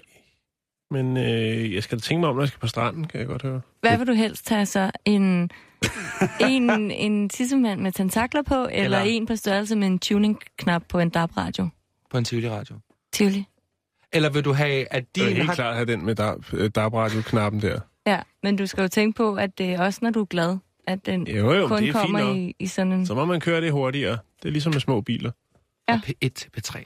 A: Men øh, jeg skal da tænke mig om, når jeg skal på stranden, kan jeg godt høre.
E: Hvad vil du helst tage så? En, en, en tissemand med tentakler på, eller,
D: Eller-
E: eller en på størrelse med en tuning-knap på en DAB-radio?
D: På en Tivoli-radio.
E: Tivoli.
D: Eller vil du have, at
A: Det er
D: din
A: helt
D: har...
A: klart at have den med dab, øh, DAB-radio-knappen der.
E: Ja, men du skal jo tænke på, at det er også, når du er glad, at den
A: Jo, jo,
E: kun
A: det er fint
E: kommer
A: nok.
E: i, i sådan en...
A: Så må man køre det hurtigere. Det er ligesom med små biler.
E: Ja.
D: P1 til P3.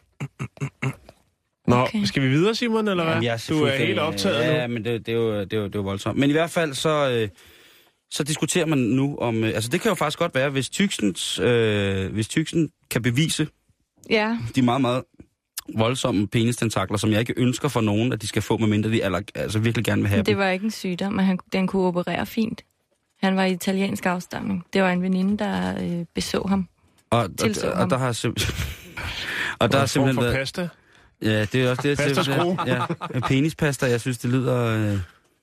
A: Nå,
E: Okay.
A: skal vi videre, Simon, eller hvad?
B: Ja,
A: du er
B: selvfølgelig.
A: helt optaget
B: ja,
A: nu.
B: Ja, men det, det, er jo, det, er jo, det er jo voldsomt. Men i hvert fald, så, øh, så diskuterer man nu om... Øh, altså, det kan jo faktisk godt være, hvis Tyksens, øh, hvis Tyksen kan bevise
E: Ja,
B: de meget, meget voldsomme penistentakler, som jeg ikke ønsker for nogen, at de skal få, medmindre de aller, altså virkelig gerne vil have
E: men det
B: dem.
E: var ikke en sygdom, men han, den kunne operere fint. Han var i italiensk afstamning. Det var en veninde, der øh, beså ham.
B: Og,
E: tilså
B: og, og,
E: ham.
B: der har simpelthen... Og der er
A: Form
B: simpelthen
A: for
B: været,
A: pasta.
B: Ja, det er også det.
A: Pastaskrue.
B: Ja, ja. penispasta, jeg synes, det lyder... Øh,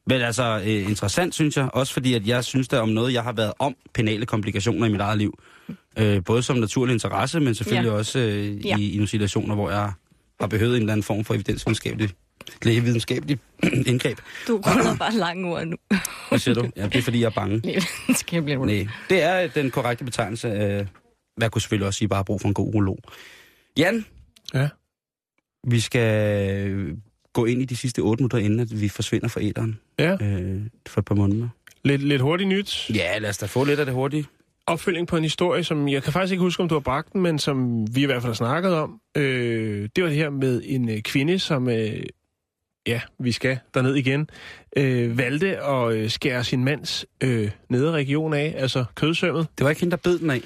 B: men altså, øh, interessant, synes jeg. Også fordi, at jeg synes der om noget, jeg har været om penale komplikationer i mit eget liv. Øh, både som naturlig interesse, men selvfølgelig ja.
E: Ja.
B: også øh, ja.
E: Ja.
B: i, i nogle situationer, hvor jeg har behøvet en eller anden form for evidensvidenskabelig, lægevidenskabelig indgreb.
E: Du ruller bare lange ord nu.
B: Hvad siger du? Ja, det er fordi, jeg er bange.
E: Skal jeg blive
B: Nej, det er øh, den korrekte betegnelse. Øh, jeg kunne selvfølgelig også sige, bare brug for en god urolog. Jan,
A: Ja.
B: vi skal øh, gå ind i de sidste otte minutter, inden at vi forsvinder fra æderen
A: Ja,
B: øh, for et par måneder.
A: lidt, lidt hurtigt nyt.
B: Ja, lad os da få lidt af det hurtigt.
A: Opfølging på en historie, som jeg kan faktisk ikke huske, om du har bragt den, men som vi i hvert fald har snakket om. Øh, det var det her med en øh, kvinde, som... Øh, ja, vi skal derned igen. Øh, valgte at øh, skære sin mands øh, nedre region af, altså kødsømmet.
B: Det var ikke hende, der bed den af.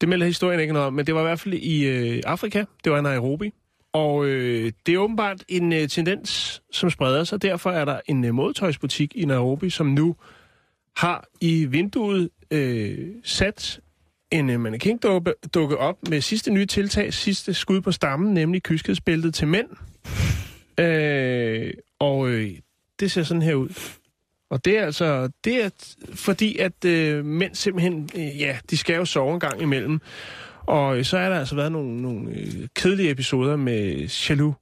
A: Det melder historien ikke noget om, men det var i hvert fald i øh, Afrika. Det var i Nairobi. Og øh, det er åbenbart en øh, tendens, som spreder sig. Derfor er der en øh, modetøjsbutik i Nairobi, som nu har i vinduet øh, sat en øh, mannequin-dukke dukke op med sidste nye tiltag, sidste skud på stammen, nemlig kyskhedsbæltet til mænd. Øh, og øh, det ser sådan her ud. Og det er altså, det er t- fordi, at øh, mænd simpelthen, øh, ja, de skal jo sove en gang imellem. Og øh, så er der altså været nogle, nogle øh, kedelige episoder med jaloux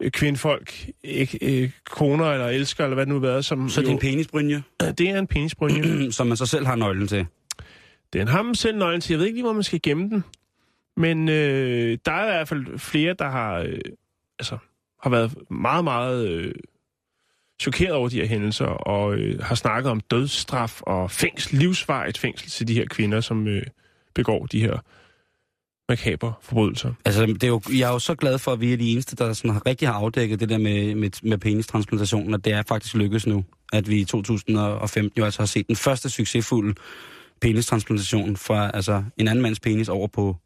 A: øh, kvindfolk, ikke, øh, koner eller elsker, eller hvad det nu har været, som
B: Så jo. din penisbrynje,
A: det er en penisbrynje.
B: som man så selv har nøglen til.
A: Den har man selv nøglen til. Jeg ved ikke lige, hvor man skal gemme den. Men øh, der er i hvert fald flere, der har, øh, altså, har været meget, meget øh, chokeret over de her hændelser, og øh, har snakket om dødsstraf og fængsel, livsvarigt fængsel til de her kvinder, som øh, begår de her makabre forbrydelser.
B: Altså, det er jo, jeg er jo så glad for, at vi er de eneste, der sådan har, rigtig har afdækket det der med, med, med penistransplantationen, og det er faktisk lykkedes nu, at vi i 2015 jo altså har set den første succesfulde penistransplantation fra altså, en anden mands penis over på,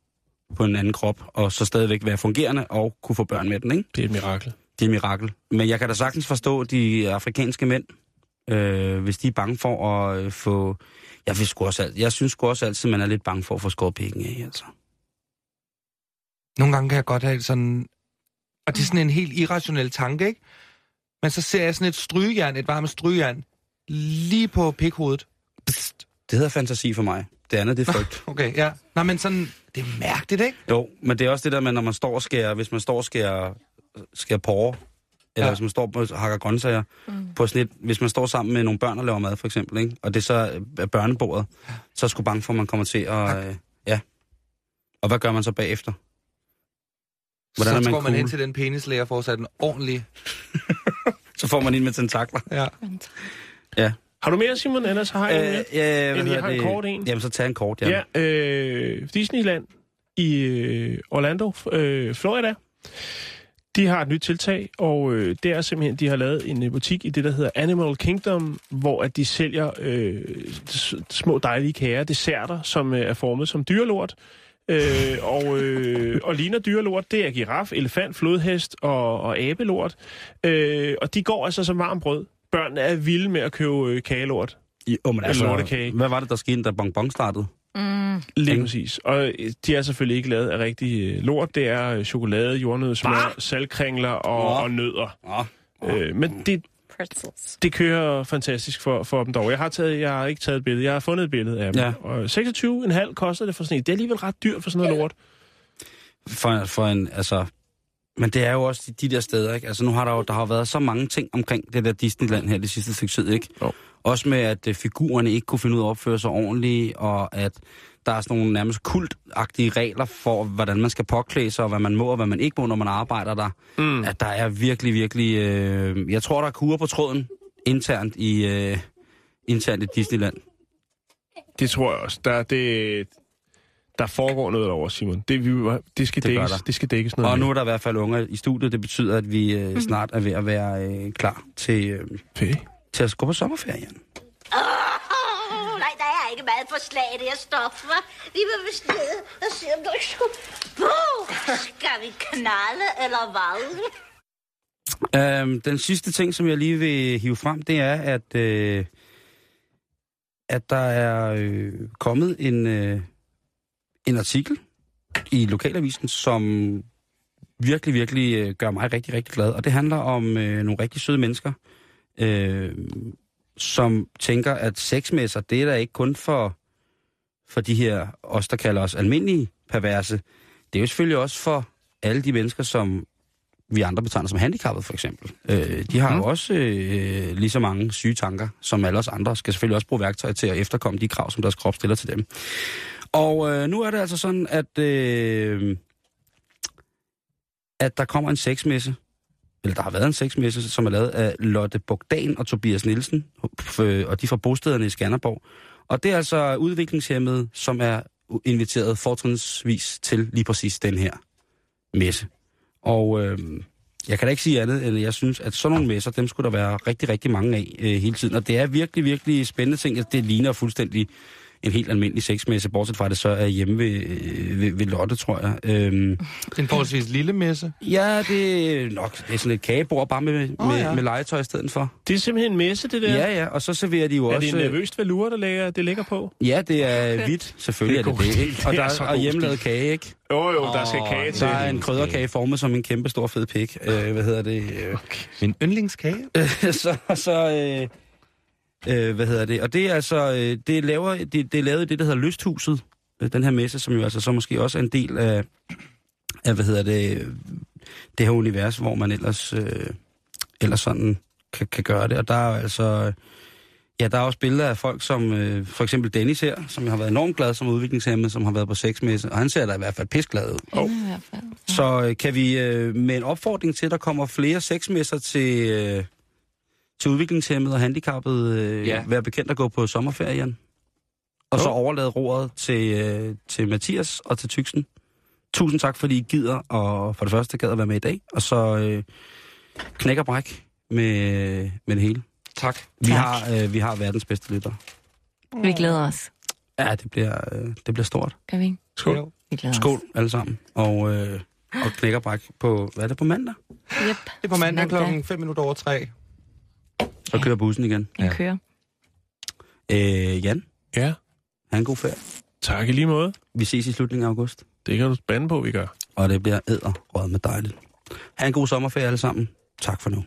B: på en anden krop, og så stadigvæk være fungerende og kunne få børn med den, ikke?
A: Det er et mirakel.
B: Det er et mirakel. Men jeg kan da sagtens forstå de afrikanske mænd, øh, hvis de er bange for at øh, få... Jeg, vil sgu også, alt- jeg synes sgu også altid, man er lidt bange for at få skåret pikken af, altså.
D: Nogle gange kan jeg godt have sådan... Og det er sådan en helt irrationel tanke, ikke? Men så ser jeg sådan et strygejern, et varmt strygejern, lige på pikhovedet. Psst.
B: Det hedder fantasi for mig. Det andet, det er frygt.
D: Okay, ja. Nej, men sådan... Det er mærkeligt, ikke?
B: jo, men det er også det der med, når man står og skærer... Hvis man står og skærer, skærer porre, eller
D: Ja.
B: ja. hvis man står og hakker grøntsager, mm. på sådan et, hvis man står sammen med nogle børn og laver mad, for eksempel, ikke? og det er så øh, børnebordet, så er jeg sgu bange for, at man kommer til at... Øh, ja. Og hvad gør man så bagefter? Hvordan
D: så
B: er man
D: går man hen
B: cool?
D: til den penislæger for at sætte den ordentlig...
B: Så får man en med tentakler.
D: Ja.
A: Har du mere, Simon? Ellers har jeg øh, mere.
B: jeg
A: jeg har en kort en.
B: Jamen, så tag en kort, ja.
A: Ja, øh, Disneyland i øh, Orlando, f- øh, Florida. De har et nyt tiltag, og øh, det er simpelthen, de har lavet en øh, butik i det, der hedder Animal Kingdom, hvor at de sælger øh, s- små dejlige kager, desserter, som øh, er formet som dyrelort. Øh, og, øh, og ligner dyrelort, det er giraf, elefant, flodhest og, og abelort. Øh, og de går altså som varmt brød. Børnene er vilde med at købe øh, kagelort.
B: I, oh, men altså,
A: lortekage.
B: hvad var det, der skete, da Bonbon startede?
A: Lige
B: Ikke?
A: præcis. Og øh, de er selvfølgelig ikke lavet af rigtig øh, lort. Det er øh, chokolade, jordnødsmør, saltkringler og,
B: Nå.
A: og nødder.
B: Nå.
A: Øh, men det,
E: Pretzels.
A: det kører fantastisk for, for dem dog. Jeg har, taget, jeg har ikke taget et billede. Jeg har fundet et billede af dem.
B: Ja.
A: Og 26,5 koster det for sådan en. Det er alligevel ret dyrt for sådan noget lort.
B: For, for en, altså... Men det er jo også de, de der steder, ikke? Altså, nu har der jo der har jo været så mange ting omkring det der Disneyland her det sidste stykke tid, ikke?
A: Jo.
B: Også med, at øh, figurerne ikke kunne finde ud af at opføre sig ordentligt, og at der er sådan nogle nærmest kultagtige regler for, hvordan man skal påklæde sig, og hvad man må og hvad man ikke må, når man arbejder der. Mm. At der er virkelig, virkelig... Øh, jeg tror, der er kurer på tråden internt i, øh, internt i Disneyland.
A: Det tror jeg også. Der, det, der foregår noget over, Simon. Det, vi, det, skal,
B: Det gør
A: dækkes,
B: der.
A: det skal dækkes noget
B: Og
A: med.
B: nu er der i hvert fald unger i studiet. Det betyder, at vi øh, snart er ved at være øh, klar til, øh,
A: Okay.
B: til at gå på sommerferie. Jan.
G: Åh, nej, der er ikke meget forslag i det her stof, hva? Vi vil vist ned og se, om der ikke skulle... Puh, skal vi knalde eller hvad?
B: Øhm, den sidste ting, som jeg lige vil hive frem, det er, at, øh, at der er øh, kommet en, øh, en artikel i Lokalavisen, som virkelig, virkelig øh, gør mig rigtig, rigtig glad. Og det handler om øh, nogle rigtig søde mennesker, øh, som tænker, at sexmesser, det er da ikke kun for, for de her, os der kalder os almindelige perverse. Det er jo selvfølgelig også for alle de mennesker, som vi andre betegner som handicappede, for eksempel. Øh, de har jo også øh, lige så mange syge tanker, som alle os andre, skal selvfølgelig også bruge værktøjer til at efterkomme de krav, som deres krop stiller til dem. Og øh, nu er det altså sådan, at, øh, at der kommer en sexmesse, eller der har været en sexmesse, som er lavet af Lotte Bogdan og Tobias Nielsen, øh, og de er fra bostederne i Skanderborg. Og det er altså udviklingshemmede, som er inviteret fortrinsvis til lige præcis den her messe. Og øh, jeg kan da ikke sige andet, end at jeg synes, at sådan nogle messer, dem skulle der være rigtig, rigtig mange af øh, hele tiden. Og det er virkelig, virkelig spændende ting. Altså, Det ligner fuldstændig en helt almindelig sexmesse, bortset fra at det så er hjemme ved, øh, ved, ved Lotte, tror jeg. Øhm,
D: En forholdsvis lille messe.
B: ja, det er nok det er sådan et kagebord, bare med, med,
D: Åh,
B: oh,
D: ja.
B: ja. med legetøj i stedet for.
A: Det er simpelthen en messe, det der.
B: Ja, ja, og så serverer de jo
A: er
B: også...
A: det en nervøst valur, der ligger, det ligger på?
B: ja, det er hvidt,
A: Det
B: selvfølgelig det
A: er
B: er,
A: god
B: det det,
A: stil.
B: ikke? Og,
A: Det
B: der,
A: er så
B: er
A: god
B: og hjemmelavet kage, ikke?
A: Jo, jo, der skal kage til.
B: Der er en krydderkage formet som en kæmpe stor fed pik. Øh, hvad hedder det? Øh,
D: Min yndlingskage.
B: så, så øh, øh, hvad hedder det? Og det er altså, øh, det, laver, det, det er lavet i det, der hedder Lysthuset, øh, den her messe, som jo altså så måske også er en del af, af hvad hedder det, øh, det her univers, hvor man ellers, øh, ellers sådan kan, kan gøre det. Og der er jo altså, øh, ja, der er også billeder af folk som, øh, for eksempel Dennis her, som har været enormt glad som er udviklingshemmet, som har været på sexmesse, og han ser da i hvert fald pisglad ud.
E: Oh. I hvert fald.
B: Så øh, kan vi øh, med en opfordring til, at der kommer flere sexmesser til, øh, til udviklingshemmede og handicappede, øh,
D: Ja.
B: ja. være bekendt at gå på sommerferie, Jan. Og så overlade roret til, øh, til Mathias og til Tyksen. Tusind tak, fordi I gider, og for det første gad at være med i dag. Og så øh, knæk og bræk med, med det hele.
D: Tak.
B: Vi
E: Tak.
B: har, øh, vi har verdens bedste lytter.
E: Vi glæder os.
B: Ja, det bliver, øh, det bliver stort.
E: Gør vi ikke?
A: Skål.
E: Vi glæder os.
I: Skål.
B: alle sammen. Og, øh, og knækkerbræk på, hvad er det, på mandag?
E: Yep.
D: Det er på mandag
E: Mandag.
D: klokken 5 minutter over 3.
B: Så kører bussen igen.
E: Den
D: Ja.
E: kører.
B: Øh, Jan,
A: Ja,
B: have en god ferie.
A: tak i lige måde.
B: Vi ses i slutningen af august,
A: Det kan du bande på, vi gør.
B: og det bliver æderrød med dejligt. Ha' en god sommerferie alle sammen. Tak for nu.